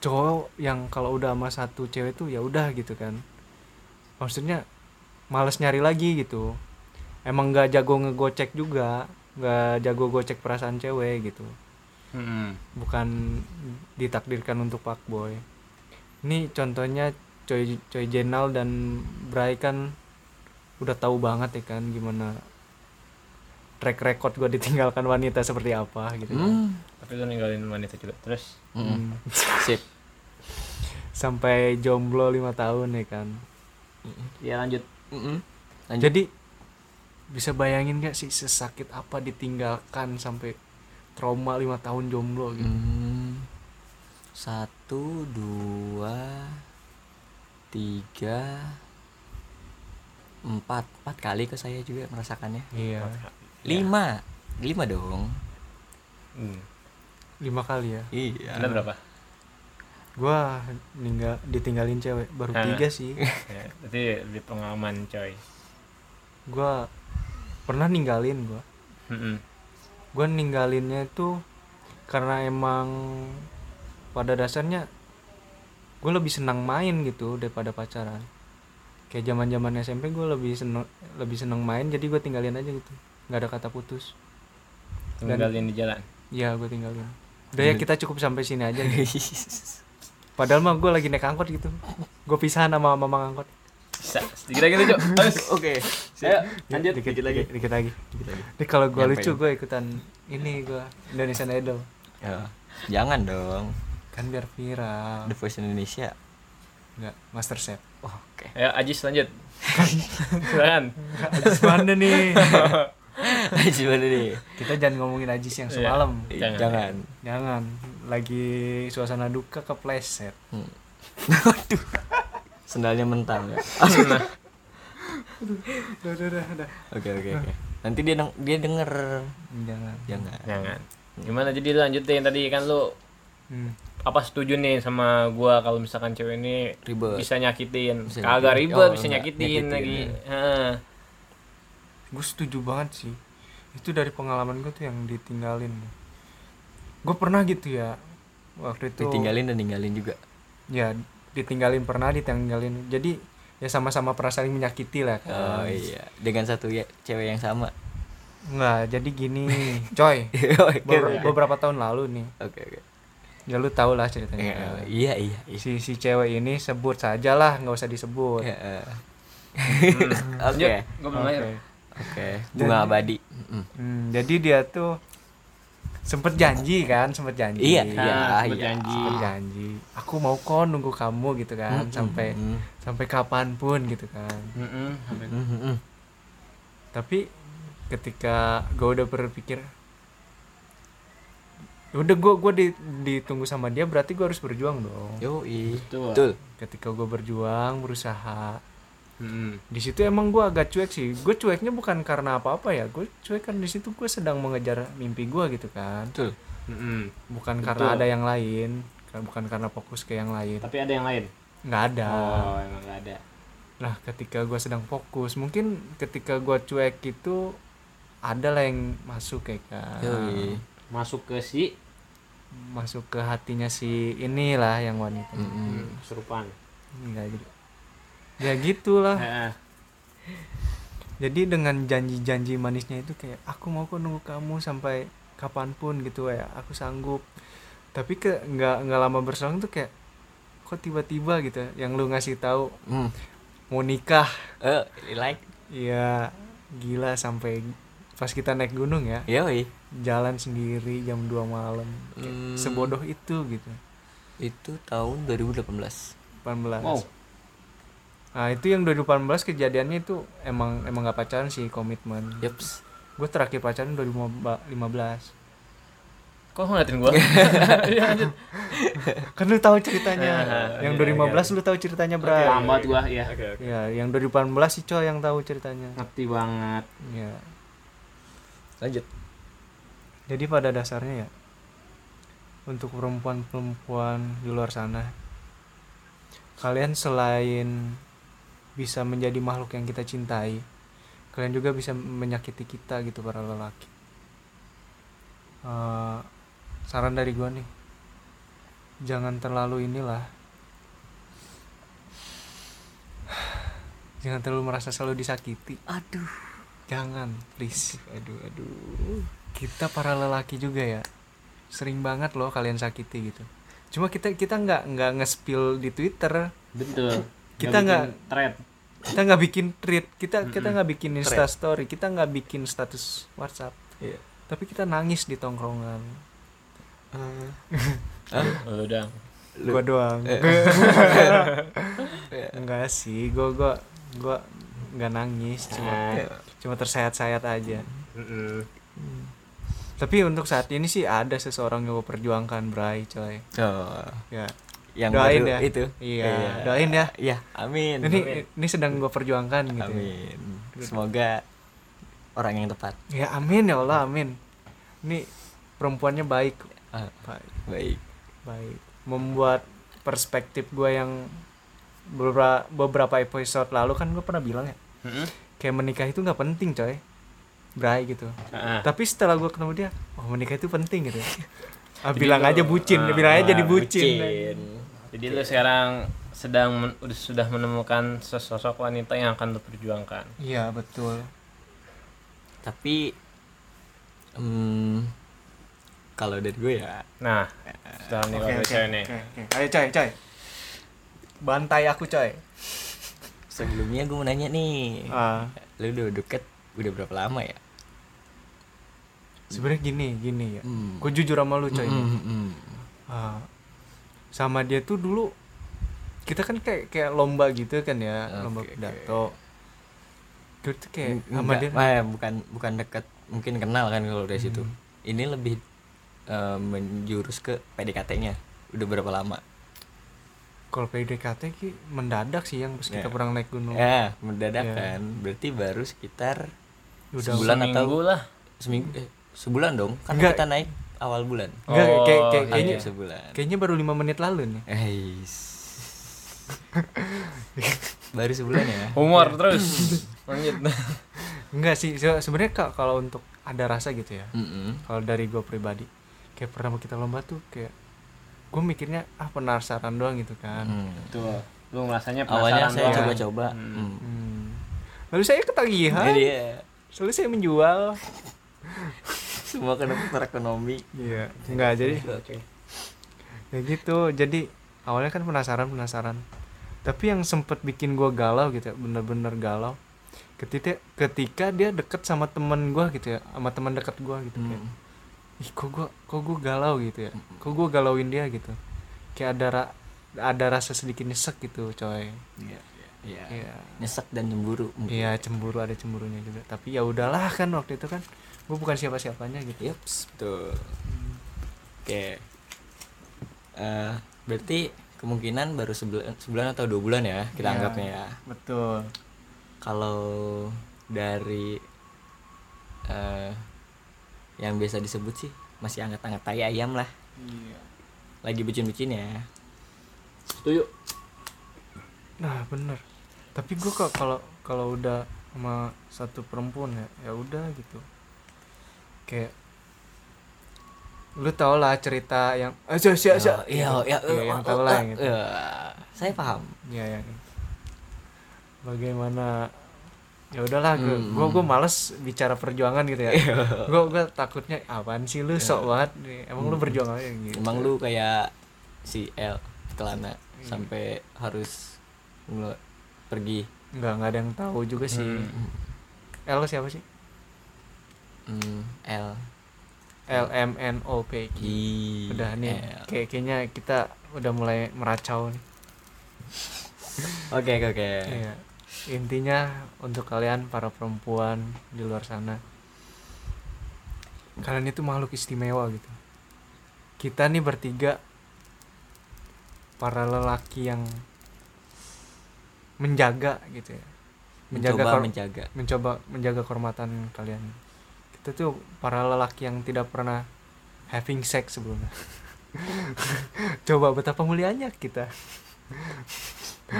S2: cowok yang kalau udah sama satu cewek tuh ya udah gitu kan maksudnya males nyari lagi gitu emang nggak jago ngegocek juga nggak jago gocek perasaan cewek gitu
S1: Mm-mm.
S2: bukan ditakdirkan untuk fuckboy ini contohnya coy coy jenal dan Bray kan udah tahu banget ya kan gimana track record gue ditinggalkan wanita seperti apa gitu kan.
S3: Hmm.
S1: tapi lu ninggalin wanita juga terus
S3: Mm.
S2: Hmm.
S3: sip
S2: sampai jomblo lima tahun ya kan
S1: ya lanjut
S3: Mm-mm. Lanjut.
S2: jadi bisa bayangin gak sih sesakit apa ditinggalkan sampai trauma lima tahun jomblo gitu
S3: Hmm. Satu, dua, tiga, empat, empat kali ke saya juga merasakannya.
S2: iya
S3: Lima, lima dong.
S1: hmm.
S2: lima kali ya
S3: Iya.
S1: Anda berapa
S2: gua ninggal ditinggalin cewek baru
S1: Ah.
S3: Nah.
S2: tiga sih
S1: ya, berarti di pengalaman coy
S2: gua pernah ninggalin gua
S1: Mm-mm.
S2: gua ninggalinnya itu karena emang pada dasarnya gue lebih senang main gitu daripada pacaran kayak zaman zaman SMP gue lebih seneng lebih seneng main jadi gue tinggalin aja gitu nggak ada kata putus
S1: ninggalin di jalan
S2: ya gue tinggalin udah ya kita cukup sampai sini aja gitu. padahal mah gue lagi naik angkot gitu gue pisahan sama mama angkot
S1: bisa gitu, sedikit lagi tuh Cok. harus
S3: Oke.
S1: ayo
S2: lanjut Iya, dikit, lagi dikit lagi ya. Ini kalau gue
S3: Nyampein.
S2: lucu gue ikutan ini gue Indonesian Idol
S3: Ya, Jangan dong.
S2: kan biar viral
S3: The Voice Indonesia.
S2: nggak Master Chef
S3: Oke.
S1: ayo Ajis lanjut silakan
S2: Ajis mana nih
S3: Gimana nih?
S2: kita jangan ngomongin Ajis yang
S1: Iya.
S2: semalam
S1: Jangan.
S3: Jangan.
S2: jangan lagi suasana duka kepleset
S3: Hmm. Waduh. Sendalnya mental ya.
S2: udah udah udah, udah.
S3: Oke oke oke. Nanti dia deng- dia denger. Ya
S2: jangan
S3: Jangan.
S1: jangan gimana jadi lu lanjutin tadi kan lu
S2: hmm.
S1: apa setuju nih sama gua kalau misalkan cewek ini
S3: Ribet.
S1: bisa nyakitin
S3: Bisa
S1: kagak
S3: nyakitin.
S1: ribet
S3: Oh,
S1: bisa
S3: enggak.
S1: nyakitin,
S3: Nyakitin,
S1: lagi
S3: ya.
S1: Heeh.
S2: gue setuju banget sih itu dari pengalaman gue tuh yang ditinggalin gue pernah gitu ya waktu
S1: gitu.
S2: itu
S3: Ditinggalin dan ninggalin juga.
S2: ya ditinggalin pernah ditinggalin jadi ya sama-sama pernah saling menyakiti lah
S1: Ya,
S2: kan.
S3: Oh iya, dengan satu ya cewek yang sama.
S2: Nggak, jadi gini, coy.
S3: Oke.
S2: Beber-
S3: oke.
S2: beberapa tahun lalu nih,
S3: Oke oke.
S2: ya lu tau lah ceritanya.
S3: Iya, Iya iya.
S1: Hmm.
S3: iya.
S2: Si si cewek ini sebut saja lah, nggak usah disebut.
S3: Iya, eh.
S1: Lanjut,
S3: Oke
S1: gua belum lahir.
S2: Oke.
S3: Iya. oke. Bunga abadi. Mm-mm.
S2: Hmm, jadi dia tuh sempet janji kan, sempet janji.
S3: Iya
S1: Nah,
S3: iya
S1: sempet
S3: iya.
S1: janji.
S2: Sempet janji. Aku mau kon nunggu kamu gitu kan,
S3: Mm-mm.
S2: sampai
S3: Mm-mm.
S2: sampai kapanpun gitu kan.
S1: Mm-mm, sampai-
S3: Mm-mm.
S2: Tapi ketika gue udah berpikir, udah gue gue ditunggu sama dia berarti gue harus berjuang dong.
S3: Iya. Yoi.
S1: Betul.
S3: Betul.
S2: ketika gue berjuang berusaha
S1: Mm-mm.
S2: di situ emang gue agak cuek sih gue cueknya bukan karena apa apa ya gue cuek kan di situ gue sedang mengejar mimpi gue gitu kan
S3: Betul.
S1: Mm-mm.
S2: bukan karena
S1: Betul.
S2: ada yang lain Kan bukan karena fokus ke yang lain
S1: Tapi ada yang lain.
S2: nggak ada
S1: Oh, emang nggak ada.
S2: nah ketika gua sedang fokus mungkin ketika gua cuek itu ada lah yang masuk ya
S1: Ah.
S2: kan
S3: Yoi.
S1: Masuk ke si
S2: masuk ke hatinya si inilah yang wanita
S1: Hmm.
S3: Mm-mm.
S1: serupan.
S2: nggak jadi ya gitulah
S1: Heeh.
S2: jadi dengan janji-janji manisnya itu kayak aku mau kok nunggu kamu sampai kapanpun gitu ya aku sanggup tapi ke nggak nggak lama berselang tuh kayak kok tiba-tiba gitu ya, yang lu ngasih tahu
S3: Mm.
S2: mau nikah
S3: Eh, like
S2: ya gila sampai pas kita naik gunung ya
S3: yoi
S2: jalan sendiri jam 2 malam Kayak
S3: Hmm.
S2: sebodoh itu gitu
S3: itu tahun 2018
S2: 18
S1: Wow.
S2: nah itu yang 2018 kejadiannya itu emang emang nggak pacaran sih komitmen
S3: Yeps.
S2: gue terakhir pacaran 2015
S1: Kok lu ngeliatin gua?
S2: kan lu tahu ceritanya
S1: Ah,
S2: yang
S1: iya,
S2: 2015 lu tahu ceritanya Bray
S1: Paham banget gua, ya.
S2: ya yang 2018 sih coy yang tahu ceritanya
S1: Ngerti banget.
S2: ya
S3: Lanjut.
S2: jadi pada dasarnya ya untuk perempuan-perempuan di luar sana kalian selain bisa menjadi makhluk yang kita cintai kalian juga bisa menyakiti kita gitu para lelaki Eh, saran dari gua nih jangan terlalu inilah jangan terlalu merasa selalu disakiti
S3: Aduh.
S2: jangan please
S3: Aduh, aduh.
S2: kita para lelaki juga ya sering banget loh kalian sakiti gitu cuma kita kita nggak nggak nge-spill di twitter
S1: Betul.
S2: Kita nggak-
S1: bikin thread.
S2: kita nggak bikin tweet kita kita nggak bikin insta story kita nggak bikin status whatsapp
S3: Iya.
S2: tapi kita nangis di tongkrongan
S1: Lu dong.
S2: gua doang
S3: Eh,
S2: enggak sih gua gua gua nggak nangis
S3: Eh.
S2: cuma
S3: Iya.
S2: cuma tersayat-sayat aja tapi untuk saat ini sih ada seseorang yang gua perjuangkan Bray coy
S3: Oh,
S2: ya
S3: yang
S2: Doain ya.
S3: baru itu.
S2: Iya, doain ya.
S3: Iya, amin.
S2: ini gitu ya. ini sedang gua perjuangkan
S3: amin.
S2: gitu ya.
S3: Amin. Semoga orang yang tepat.
S2: Ya amin ya Allah amin. Ini perempuannya baik,
S3: Ah,
S2: baik,
S3: baik.
S2: baik. Membuat perspektif gue yang beberapa beberapa episode lalu kan gue pernah bilang ya, kayak menikah itu nggak penting coy, bray gitu.
S1: Heeh.
S2: Tapi setelah gue ketemu dia, oh menikah itu penting gitu. Ah,
S1: Jadi
S2: bilang
S1: lu-
S2: aja bucin,
S1: ah,
S2: bilang aja jadi
S1: ah,
S2: bucin.
S1: Jadi lu sekarang sedang men- udah- sudah menemukan sesosok wanita yang akan lu perjuangkan.
S2: Iya betul.
S3: Tapi em, kalau dari gue ya,
S1: Nah, setelah nih kalau cewek nih.
S2: Ayo coy coy, bantai aku coy.
S3: sebelumnya gue mau nanya nih.
S2: Ah.
S3: Lu udah deket udah berapa lama ya?
S2: sebenarnya gini gini ya
S3: Hmm.
S2: gue jujur sama lu coy
S3: Mm,
S2: nih.
S3: mm, mm.
S2: Ah, sama dia tuh dulu kita kan kayak kayak lomba gitu kan ya
S3: Oke,
S2: lomba
S3: oke.
S2: pidato gue tuh kayak
S3: N-
S2: sama
S3: enggak,
S2: dia Hmm.
S3: eh, bukan bukan dekat mungkin kenal kan kalau dari situ ini lebih eh, menjurus ke PDKT-nya udah berapa lama
S2: kalau PDKT ki mendadak sih yang pas kita
S3: Ya.
S2: pernah naik gunung
S3: ya mendadak
S2: Oh. Ya.
S3: kan berarti baru sekitar
S2: udah
S3: sebulan atau
S1: Seminggu lah.
S3: seminggu eh, sebulan dong kan
S2: Enggak.
S3: kita naik awal bulan
S2: enggak kayak- kayak kayak-
S1: Oh,
S2: kayaknya
S3: Hampir sebulan
S2: kayaknya baru lima menit lalu nih
S3: Eis. baru sebulan ya
S2: Oh.
S1: Humor terus. Lanjut.
S2: enggak sih se- sebenarnya Kak, kalau untuk ada rasa gitu ya
S3: Mm-mm.
S2: kalau dari gue pribadi kayak pertama kita lomba tuh kayak gue mikirnya ah penasaran doang gitu kan
S3: Mm.
S1: Tuh. Lu ngerasanya
S3: awalnya
S1: penasaran
S3: saya
S1: doang.
S3: coba-coba
S1: Hmm.
S3: Mm.
S2: Hmm. Lalu saya ketagihan,
S3: jadi ya,
S2: lalu saya menjual.
S3: semua kena putar ekonomi
S2: Iya, enggak jadi ya gitu. Jadi awalnya kan penasaran penasaran. Tapi yang sempet bikin gua galau gitu, ya, bener-bener galau. Ketika ketika dia deket sama temen gua gitu ya, sama teman dekat gua gitu kayak.
S3: Mm.
S2: Ih, kok gua kok gua galau gitu ya. Kok gua galauin dia gitu. Kayak ada ra- ada rasa sedikit nyesek gitu, coy.
S3: Iya. Iya.
S2: Iya.
S3: Nyesek dan cemburu.
S2: Iya, cemburu ada cemburunya juga. Tapi ya udahlah kan waktu itu kan gue bukan siapa-siapanya gitu.
S3: Yups, betul. Oke. Eh, berarti kemungkinan baru sebulan, sebulan atau dua bulan ya kita
S2: Iya.
S3: anggapnya ya.
S2: Betul.
S3: Kalau dari eh yang biasa disebut sih masih anget-anget tai ayam lah.
S2: Iya.
S3: lagi bucin-bucin ya setuju
S2: Nah bener. Tapi gue kok kalau kalau udah sama satu perempuan ya ya udah gitu. Kayak lu tau lah cerita yang "Eh, aja sih aja
S3: iya iya
S2: Iya, yang tahu lah yang itu.
S3: saya paham
S2: ya yang bagaimana ya udahlah gue
S3: Hmm.
S2: gue gue males bicara perjuangan gitu ya gue gue takutnya apaan sih lu sok banget nih. emang lu
S3: Hmm.
S2: berjuang aja gitu
S3: emang lu kayak si L kelana
S2: Iya.
S3: sampai harus ngelu- pergi
S2: nggak nggak ada yang tahu juga sih
S1: Hmm.
S3: Mm.
S2: L siapa sih
S3: Mm, L
S2: L M N O P Q
S3: I
S2: udah nih
S3: L.
S2: kayak kayaknya kita udah mulai meracau nih
S3: oke oke oke
S2: Iya. intinya untuk kalian para perempuan di luar sana kalian itu makhluk istimewa gitu kita nih bertiga para lelaki yang menjaga gitu ya menjaga
S3: mencoba
S2: kor-
S3: menjaga
S2: mencoba menjaga kehormatan kalian kita tuh para lelaki yang tidak pernah having sex sebelumnya coba betapa mulianya kita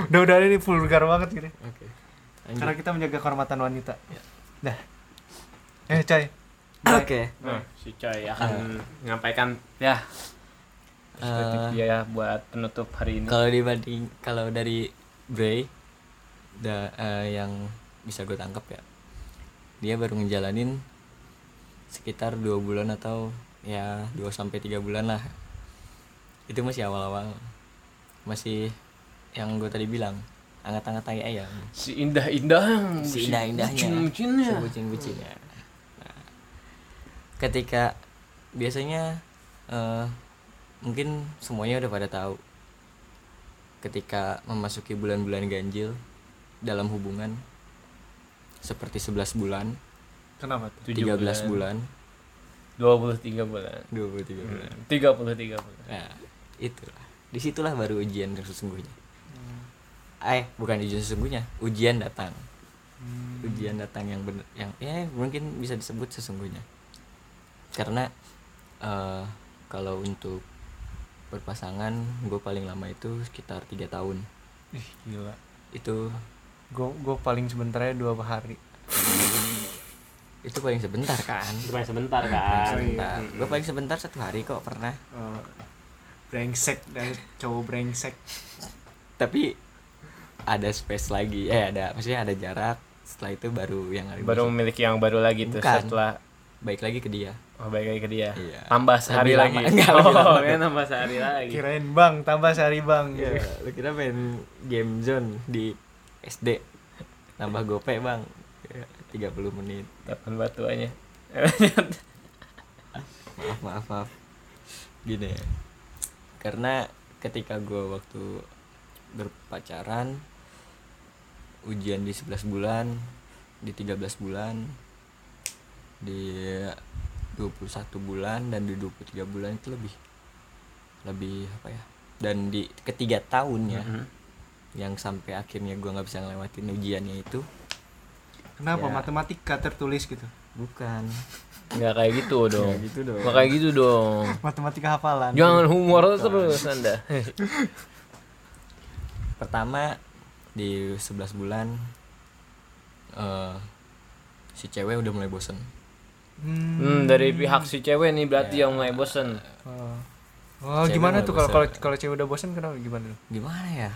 S2: udah udah ini vulgar banget gitu
S3: oke
S2: karena kita menjaga kehormatan wanita dah eh coy
S3: oke
S1: Nah, si Coy
S3: Nah.
S1: akan menyampaikan ya perspektif
S3: Eh,
S1: dia ya buat penutup hari ini.
S3: kalau dibanding kalau dari Bray da, eh, yang bisa gue tangkap ya dia baru ngejalanin sekitar dua bulan atau ya 2 sampai tiga bulan lah itu masih awal-awal masih yang gue tadi bilang angat-angat ya. tai ayam
S1: Si indah-indah,
S3: Si indah-indahnya.
S1: bucin-bucinnya.
S3: sebucin-bucin ya Nah, ketika biasanya eh, mungkin semuanya udah pada tahu ketika memasuki bulan-bulan ganjil dalam hubungan seperti 11 bulan,
S2: kenapa tuh
S1: 7
S3: 13 bulan,
S1: 23 bulan.
S3: 23 bulan.
S1: Hmm, 33 bulan.
S3: Nah, itulah. Disitulah baru ujian yang sesungguhnya. Eh, bukan ujian sesungguhnya, ujian datang. ujian datang yang bener yang ya mungkin bisa disebut sesungguhnya karena eh, kalau untuk berpasangan gue paling lama itu sekitar tiga tahun
S2: ih gila
S3: itu
S2: gue gue paling sebentarnya dua hari
S3: itu paling sebentar kan
S2: Iya,
S1: Cuma sebentar
S3: paling
S1: kan.
S3: sebentar
S1: Mm-mm.
S3: gue paling sebentar satu hari kok pernah
S2: Oh. brengsek dan cowok brengsek
S3: tapi ada space lagi eh ada maksudnya ada jarak setelah itu baru yang
S1: baru memiliki yang baru lagi tuh
S3: Bukan.
S1: setelah
S3: baik lagi ke dia
S1: oh, balik lagi ke dia.
S2: Eh,
S3: Iya.
S1: Tambah sehari
S3: Lebih
S1: lagi.
S3: lama. Enggak,
S1: oh,
S3: lebih lama.
S1: kan tambah sehari lagi.
S2: kirain bang tambah sehari bang
S3: Ya, lu kira main game zone di SD nambah gope bang Ya, 30 menit
S1: Tapan batuannya.
S3: maaf maaf maaf gini ya karena ketika gua waktu berpacaran ujian di 11 bulan di 13 bulan di 21 bulan dan di 23 bulan itu lebih lebih apa ya dan di ketiga tahun ya
S1: Mhm.
S3: yang sampai akhirnya gua nggak bisa ngelewatin ujiannya itu
S2: Kenapa
S3: Ya.
S2: matematika tertulis gitu?
S3: bukan
S1: Nggak kayak gitu dong.
S3: Nggak gitu dong.
S1: Nggak kayak gitu dong.
S2: Matematika hafalan.
S1: Jangan humor terus Anda.
S3: pertama di 11 bulan eh si cewek udah mulai bosen
S1: Hmm, dari pihak si cewek nih berarti
S3: Ya.
S1: yang mulai bosen.
S2: Oh, Oh,
S3: Cewek
S2: gimana
S3: mulai
S2: tuh kalau
S3: bosan.
S2: kalau kalau cewek udah bosan kenapa gimana? lu?
S3: gimana ya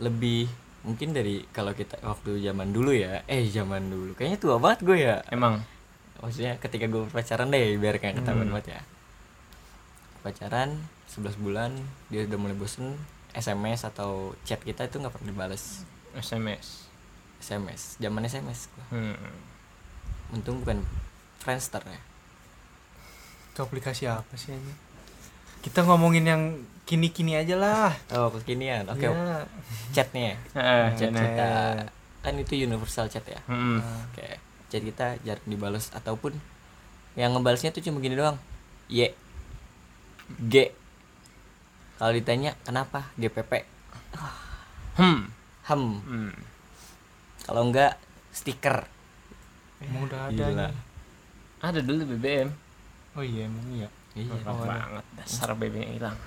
S3: lebih mungkin dari kalau kita waktu zaman dulu ya eh zaman dulu kayaknya tua banget gue ya
S1: Emang
S3: maksudnya ketika gue pacaran deh biar kayak ketahuan
S1: Hmm.
S3: banget ya pacaran 11 bulan dia udah mulai bosen SMS atau chat kita itu nggak pernah dibales
S1: SMS.
S3: SMS zaman SMS gua.
S1: Hmm.
S3: untung bukan Friendster ya
S2: Itu aplikasi apa sih ini? Kita ngomongin yang kini-kini aja lah.
S3: oh kekinian oke
S2: Ya.
S3: chatnya ya
S1: Ah,
S3: chat
S1: chat-
S3: kita kan itu universal chat ya
S1: Hmm.
S2: Nah,
S3: oke chat kita jarang dibalas ataupun yang ngebalasnya tuh cuma gini doang y g kalau ditanya kenapa gpp
S1: Hmm.
S3: hem
S1: Hmm.
S3: kalau enggak stiker
S2: Emang udah ada.
S3: Gila.
S2: nih?
S1: Ada dulu BBM.
S2: Oh iya emang iya.
S3: iya
S1: Berat
S2: Oh, ada.
S1: banget dasar babynya hilang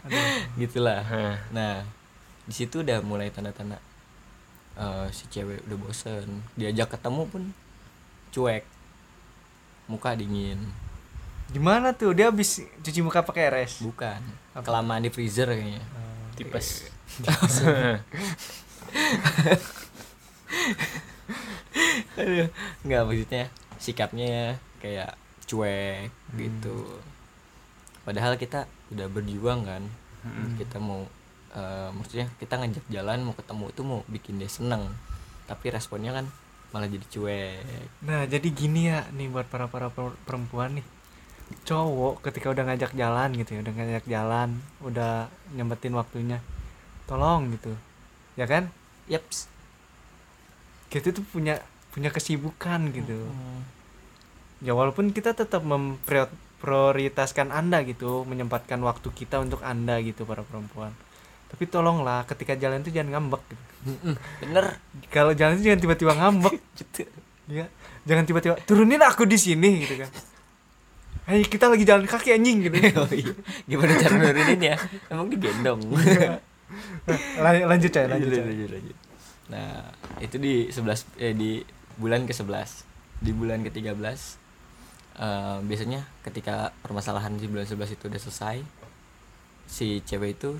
S2: Aduh.
S3: gitulah
S1: Hah.
S3: Nah, di situ udah mulai tanda-tanda eh, si cewek udah bosen. Diajak ketemu pun cuek, muka dingin,
S2: Gimana tuh? Dia habis cuci muka pakai res.
S3: bukan.
S2: Apa?
S3: Kelamaan di freezer
S2: Eh,
S3: kayaknya.
S1: tipes
S3: Aduh, nggak maksudnya sikapnya kayak cuek gitu. Padahal kita udah berjuang kan.
S2: Hmm.
S1: Gitu.
S3: Kita mau eh, maksudnya kita ngajak jalan mau ketemu itu mau bikin dia seneng. Tapi responnya kan malah jadi cuek.
S2: Nah, jadi gini ya nih buat para-para per- perempuan nih. Cowok ketika udah ngajak jalan gitu ya, udah ngajak jalan, udah nyempetin waktunya. Tolong gitu. Ya kan?
S3: Yaps.
S2: Kita tuh punya punya kesibukan gitu.
S3: Hmm.
S2: Ya walaupun kita tetap memprioritaskan Anda gitu, menyempatkan waktu kita untuk Anda gitu para perempuan. Tapi tolonglah ketika jalan tuh jangan ngambek gitu.
S3: Bener.
S2: Kalau jalan tuh jangan tiba-tiba ngambek
S3: gitu
S2: ya jangan tiba-tiba turunin aku di sini gitu kan Hei kita lagi jalan kaki anjing gitu
S3: oh, iya. gimana cara nurunin ya emang digendong
S2: Lan- Ya, lanjut coy lanjut
S3: Iya,
S2: coy.
S3: lanjut. nah itu di 11 eh di bulan ke 11 di bulan ke 13 eh, biasanya ketika permasalahan di bulan 11 itu udah selesai si cewek itu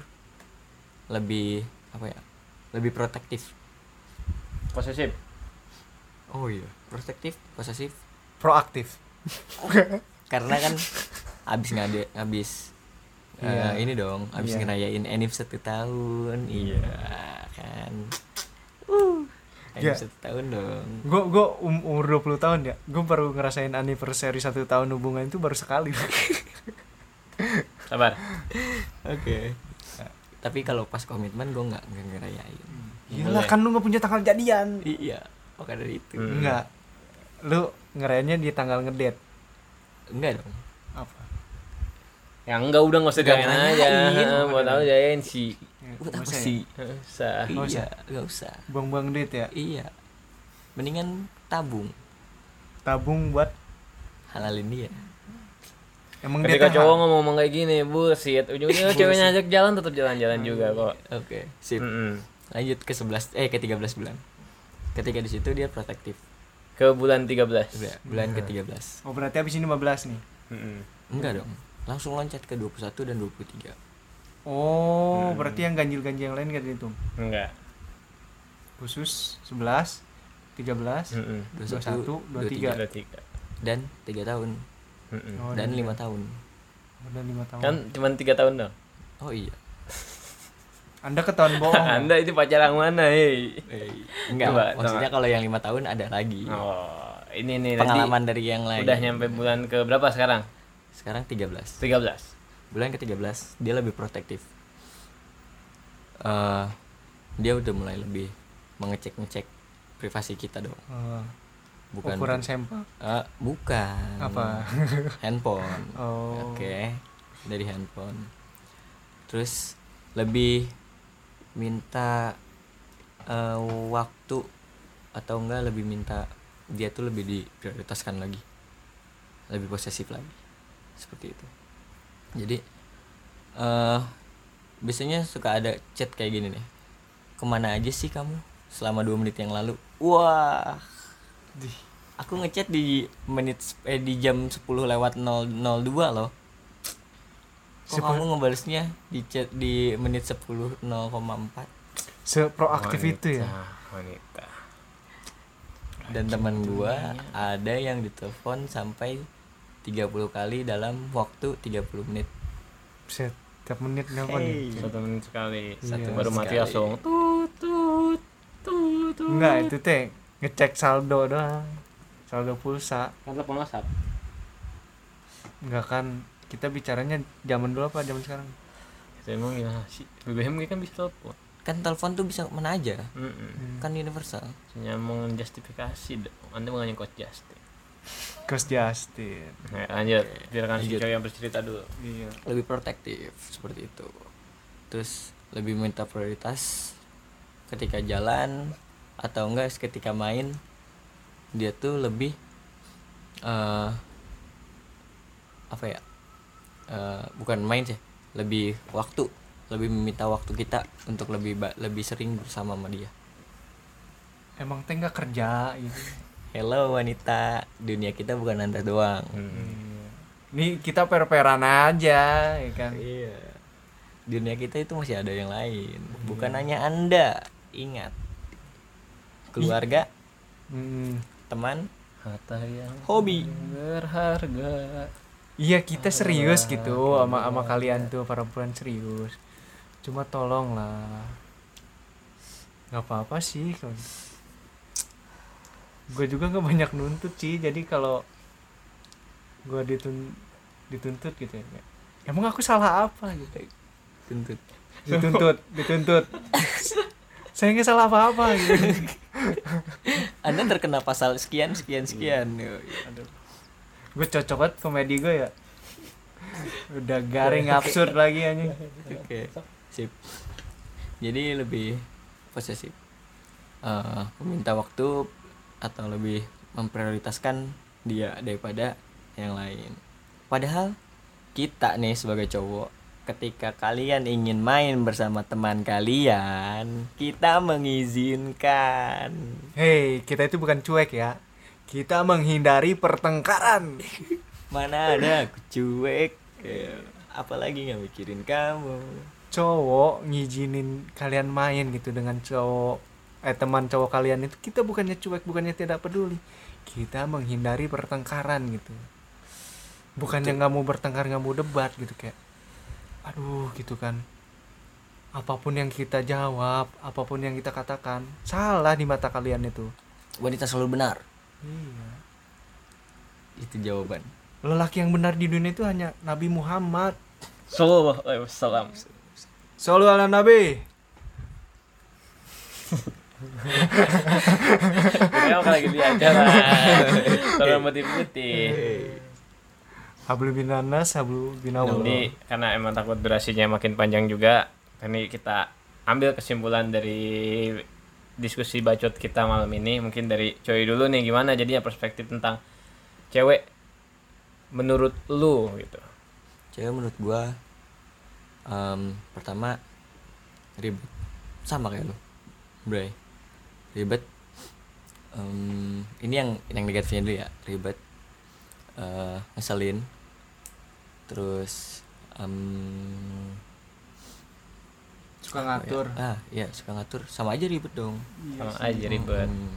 S3: lebih apa ya lebih protektif
S1: posesif
S3: oh iya protektif posesif
S2: proaktif
S3: karena kan abis ngade abis eh,
S2: Iya.
S3: ini dong
S2: Iya.
S3: abis ngerayain Enif satu tahun iya kan uh
S2: Iya.
S3: Enif satu tahun dong
S2: gue gue um, umur 20 tahun ya gue baru ngerasain anniversary satu tahun hubungan itu baru sekali
S1: sabar
S3: oke tapi kalau pas komitmen gue nggak nggak ngerayain
S2: iyalah
S1: Boleh.
S2: kan lu nggak punya tanggal jadian
S3: iya maka dari itu
S1: Hmm.
S2: enggak lu ngerayainnya di tanggal ngedate
S3: enggak dong
S2: apa
S1: ya enggak udah nggak usah
S3: Nggak
S1: jayain aja
S3: nanyain.
S1: Heeh, buat tahu jayain eh, sih
S3: buat apa
S2: Masa ya?
S3: sih
S1: Heeh, usah
S2: Nggak
S3: iya
S2: usah.
S3: nggak usah
S2: buang-buang duit ya
S3: iya mendingan tabung
S2: tabung buat
S3: halalin dia
S2: emang
S1: ketika
S2: tahan?
S1: cowok ngomong-ngomong kayak gini bullshit ujungnya ceweknya ajak jalan tetap jalan-jalan juga kok
S3: oke sip
S2: Hmm.
S1: Mm-mm.
S3: lanjut ke 11 eh ke 13 bulan ketika di situ dia protektif
S1: ke bulan 13
S3: Udah, bulan ke-13
S2: oh berarti habis ini 15 nih
S1: Mm-mm.
S3: Enggak dong. Langsung loncat ke 21 dan 23. Hmm.
S2: oh berarti yang ganjil-ganjil yang lain gak dihitung
S1: enggak
S2: khusus 11
S3: Hmm.
S2: 13
S1: Mm-mm.
S3: 21,
S2: 21 23
S1: Ada tiga.
S3: Dan 3 tahun
S1: Mm-mm.
S2: Oh,
S3: dan
S2: dan
S3: 5 tahun.
S2: udah 5 tahun
S1: kan cuma tiga tahun dong
S3: Oh iya.
S2: Anda ketahuan bohong ya?
S1: anda itu pacar yang mana hei
S3: Enggak,
S1: Iya. Coba,
S3: maksudnya kalau yang 5 tahun ada lagi.
S1: oh ini nih nanti
S3: Pengalaman dari yang lain.
S1: udah nyampe bulan ke berapa sekarang
S3: Sekarang 13.
S1: 13
S3: Bulan ke-13 dia lebih protektif. Eh dia udah mulai lebih mengecek-ngecek privasi kita dong.
S2: Eh,
S3: Bukan
S2: ukuran sampel
S3: Eh, bukan.
S2: Apa?
S3: handphone.
S2: oh
S3: Oke, dari handphone. Terus lebih minta eh, waktu atau enggak lebih minta dia tuh lebih diprioritaskan lagi, lebih posesif lagi, seperti itu. Jadi eh biasanya suka ada chat kayak gini nih. Kemana aja sih kamu selama dua menit yang lalu? Wah,
S2: Dih,
S3: aku ngechat di menit eh di jam 10 lewat 002 loh kok
S2: Sepuluh-
S3: kamu ngebalesnya di chat di menit 10 0,4
S2: seproaktif itu
S3: iya.
S2: ya
S1: wanita
S3: dan teman gua ada yang ditelepon sampai 30 kali dalam waktu 30 menit
S2: setiap menit nelpon ya?
S3: Hey.
S1: satu menit sekali satu
S2: Iya,
S1: baru mati
S3: sekali.
S1: langsung tut tut tut tut
S2: enggak itu teh ngecek saldo doang saldo pulsa
S1: kan telepon WhatsApp
S2: enggak kan kita bicaranya zaman dulu apa zaman sekarang
S1: itu emang gimana sih BBM kan bisa telepon
S3: kan telepon tuh bisa kemana aja
S1: Mm-mm.
S2: Hmm.
S3: kan universal
S1: hanya menjustifikasi dong anda mengenai coach Justin
S2: Coach Justin
S1: Nah, lanjut biarkan si
S3: lanjut.
S1: cewek yang bercerita dulu
S2: iya
S3: lebih protektif seperti itu terus lebih minta prioritas ketika jalan atau enggak ketika main dia tuh lebih eh apa ya eh, bukan main sih lebih waktu lebih meminta waktu kita untuk lebih ba- lebih sering bersama sama dia
S2: emang teh nggak kerja gitu
S3: hello wanita dunia kita bukan anda doang
S2: Hmm. nih Iya. kita per-peran aja ya kan
S3: iya dunia kita itu masih ada yang lain bukan hanya anda ingat keluarga
S2: Hmm.
S3: teman
S1: Harta yang
S3: hobi
S1: berharga.
S2: Iya kita serius gitu sama sama kalian tuh perempuan serius. Cuma tolong lah. Gak apa-apa sih kalau Gue juga gak banyak nuntut sih. Jadi kalau gue ditun dituntut gitu ya. kayak, Emang aku salah apa gitu?
S3: tuntut
S2: Dituntut, dituntut. Saya nggak salah apa-apa gitu.
S3: anda terkena pasal sekian sekian sekian Aduh.
S2: Gue cocok banget komedi gue ya. Udah garing absurd lagi anjing.
S3: Oke, sip. Jadi lebih posesif. Eh, meminta waktu atau lebih memprioritaskan dia daripada yang lain. Padahal kita nih sebagai cowok, ketika kalian ingin main bersama teman kalian, kita mengizinkan.
S2: Hei, kita itu bukan cuek ya. Kita menghindari pertengkaran.
S3: Mana ada aku cuek. Eh, Apalagi nggak mikirin kamu.
S2: Cowok ngizinin kalian main gitu dengan cowok eh teman cowok kalian itu kita bukannya cuek, bukannya tidak peduli. Kita menghindari pertengkaran gitu. Bukannya nggak mau bertengkar, nggak mau debat gitu kayak. Aduh, gitu kan. Apapun yang kita jawab, apapun yang kita katakan, salah di mata kalian itu.
S3: Wanita selalu benar.
S2: Iya.
S3: Itu jawaban.
S2: Lelaki yang benar di dunia itu hanya Nabi Muhammad.
S1: Sallallahu alaihi wasallam.
S2: Selalu ala Nabi.
S1: Kita kalau lagi di acara. Kalau putih putih.
S2: Hablu binanas, hablu binawal.
S1: Jadi karena emang takut durasinya makin panjang juga, ini kita ambil kesimpulan dari diskusi bacot kita malam ini. Mungkin dari Coy dulu nih gimana jadinya perspektif tentang cewek menurut lu gitu.
S3: cewek menurut gua em, pertama ribet sama kayak lo bray ribet Em, ini yang yang negatifnya dulu ya ribet Eh, ngeselin terus em,
S2: suka Iya
S3: apa ya? ah iya suka ngatur sama aja ribet dong
S1: Sama aja ribet.
S3: Em,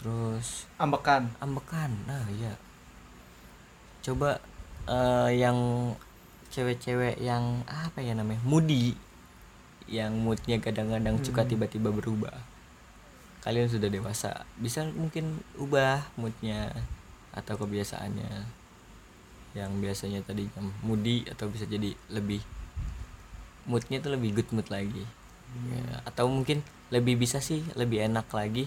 S3: terus
S2: Ambekan.
S3: ambekan nah iya coba eh, yang cewek-cewek yang apa ya namanya moody yang moodnya kadang-kadang suka tiba-tiba berubah kalian sudah dewasa bisa mungkin ubah moodnya atau kebiasaannya yang biasanya tadinya moody atau bisa jadi lebih moodnya tuh lebih good mood lagi Ya, atau mungkin lebih bisa sih lebih enak lagi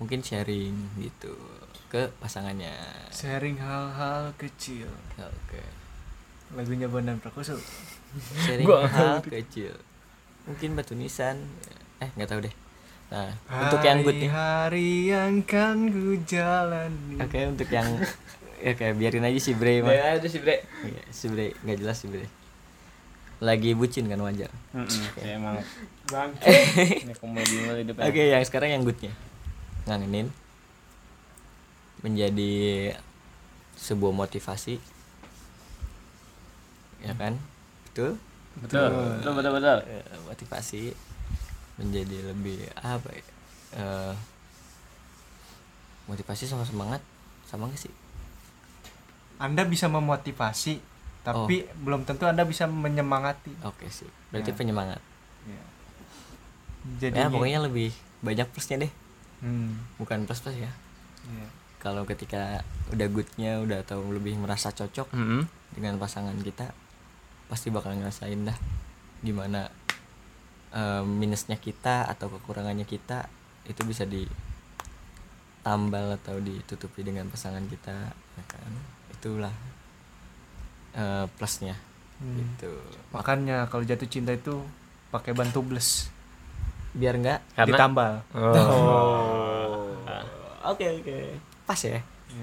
S3: mungkin sharing gitu ke pasangannya
S2: Sharing hal-hal kecil.
S3: oke
S2: Lagunya Bondan Prakoso.
S3: sharing
S1: Gua
S3: hal kecil mungkin batu nisan eh nggak tahu deh nah untuk yang good nih oke
S2: Hari yang kan ku jalani.
S3: untuk yang ya kayak biarin aja si Bre mah
S1: Ya itu sih Bre.
S3: Iya, si Bre nggak jelas si Bre lagi bucin kan wajar
S1: Ya, emang
S2: Bangke.
S1: ini komedi mulu hidupnya.
S3: Oke, yang sekarang yang goodnya ngangenin menjadi sebuah motivasi, ya kan? Betul.
S1: Betul. Betul betul betul.
S3: Eh, motivasi menjadi lebih apa? ya? Eh, motivasi sama semangat sama nggak sih?
S2: Anda bisa memotivasi, tapi
S3: Oh.
S2: belum tentu Anda bisa menyemangati.
S3: Oke sih. Berarti
S2: Ya.
S3: penyemangat.
S2: Ya. Jadi
S3: ya pokoknya lebih banyak plusnya deh,
S2: Hmm.
S3: bukan plus plus ya.
S2: Iya.
S3: Kalau ketika udah goodnya udah atau lebih merasa cocok,
S1: Mm-mm.
S3: dengan pasangan kita pasti bakal ngerasain dah gimana eh, minusnya kita atau kekurangannya kita itu bisa ditambal atau ditutupi dengan pasangan kita ya kan itulah eh, plusnya
S2: Hmm.
S3: gitu
S2: Makanya kalau jatuh cinta itu pakai ban tubeless
S3: biar nggak
S1: Karena
S2: ditambal.
S1: Oh.
S3: oke oke pas ya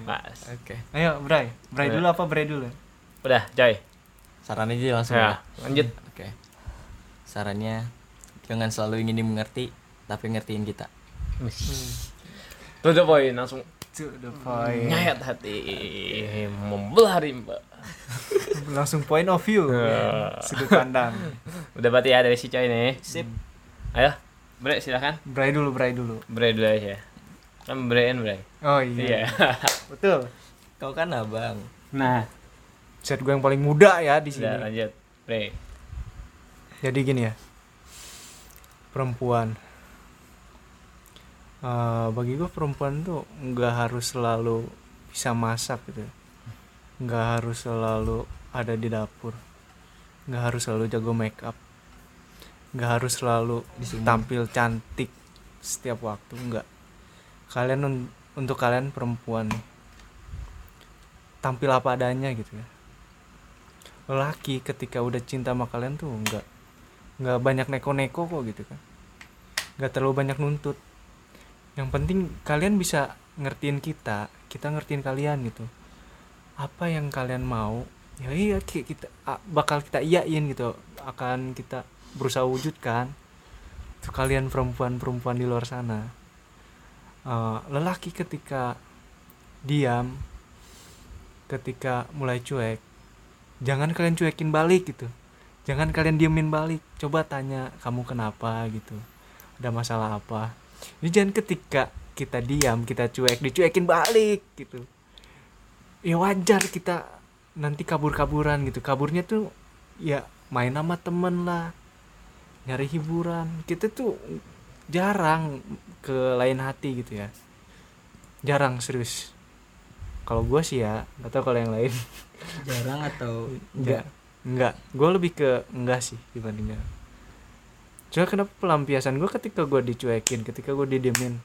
S1: Pas.
S3: Oke.
S2: Ayo, Bray.
S3: Iya.
S2: Bray dulu apa Bray dulu?
S1: Udah, coy.
S3: Saran aja langsung. ya?
S1: Ya, lanjut.
S3: Oke. Sarannya jangan selalu ingin dimengerti, tapi ngertiin kita.
S1: To the point, langsung
S2: To the point.
S1: nyayat hati, membelah rimba.
S2: Langsung point of view.
S1: Ya.
S2: Sudut pandang.
S1: Udah berarti ya dari si coy nih. Sip. Ayo, Bre silakan.
S2: Bray dulu, Bray dulu.
S1: Bre dulu aja. Kan Bre and Bre.
S2: Oh
S1: Iya.
S2: iya. Betul.
S3: Kau kan abang.
S1: Nah,
S2: Set gue yang paling muda ya di
S1: sudah
S2: sini.
S1: lanjut. Bre.
S2: Jadi gini ya. Perempuan. Eh, bagi gue perempuan tuh nggak harus selalu bisa masak gitu. Nggak harus selalu ada di dapur. Nggak harus selalu jago make up. Nggak harus selalu
S3: Di sumur.
S2: tampil cantik setiap waktu enggak kalian un- untuk kalian perempuan nih, tampil apa adanya gitu ya lelaki ketika udah cinta sama kalian tuh enggak enggak banyak neko-neko kok gitu kan enggak terlalu banyak nuntut yang penting kalian bisa ngertiin kita kita ngertiin kalian gitu apa yang kalian mau ya iya ki- kita a- bakal kita iyain gitu akan kita berusaha wujudkan tuh kalian perempuan-perempuan di luar sana Eh, lelaki ketika diam ketika mulai cuek jangan kalian cuekin balik gitu jangan kalian diemin balik coba tanya kamu kenapa gitu ada masalah apa ini jangan ketika kita diam kita cuek dicuekin balik gitu ya wajar kita nanti kabur-kaburan gitu kaburnya tuh ya main sama temen lah nyari hiburan kita tuh jarang ke lain hati gitu ya jarang serius kalau gue sih ya nggak tahu kalau yang lain
S3: Jarang atau
S2: enggak enggak gue lebih ke enggak sih dibandingnya cuma kenapa pelampiasan gue ketika gue dicuekin ketika gue didiemin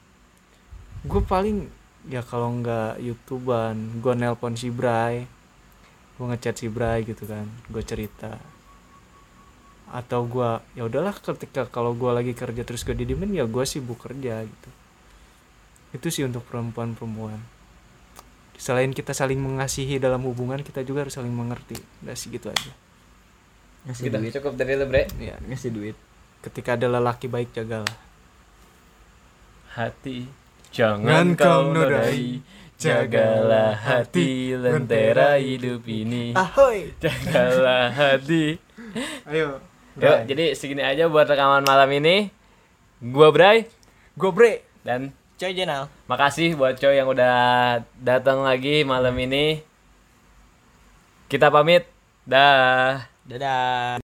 S2: gue paling ya kalau enggak youtuban gue nelpon si Bray gue ngechat si Bray gitu kan gue cerita atau gue ya udahlah ketika kalau gue lagi kerja terus gue didiemin ya gue sibuk kerja gitu itu sih untuk perempuan-perempuan selain kita saling mengasihi dalam hubungan kita juga harus saling mengerti udah segitu aja
S3: Ngasih
S1: Gitu.
S3: duit.
S1: Cukup dari lu, Bre.
S2: ya
S3: Ngasih duit.
S2: ketika ada lelaki baik jagalah
S1: Hati jangan kau nodai. Jagalah hati lentera hidup ini.
S2: ahoy
S1: Jagalah hati.
S2: ayo
S1: Yuk, jadi segini aja buat rekaman malam ini. Gua Bray
S2: gobre
S1: dan
S3: Coy Jenal.
S1: Makasih buat Coy yang udah datang lagi malam ini. Kita pamit. Dah.
S3: Dadah.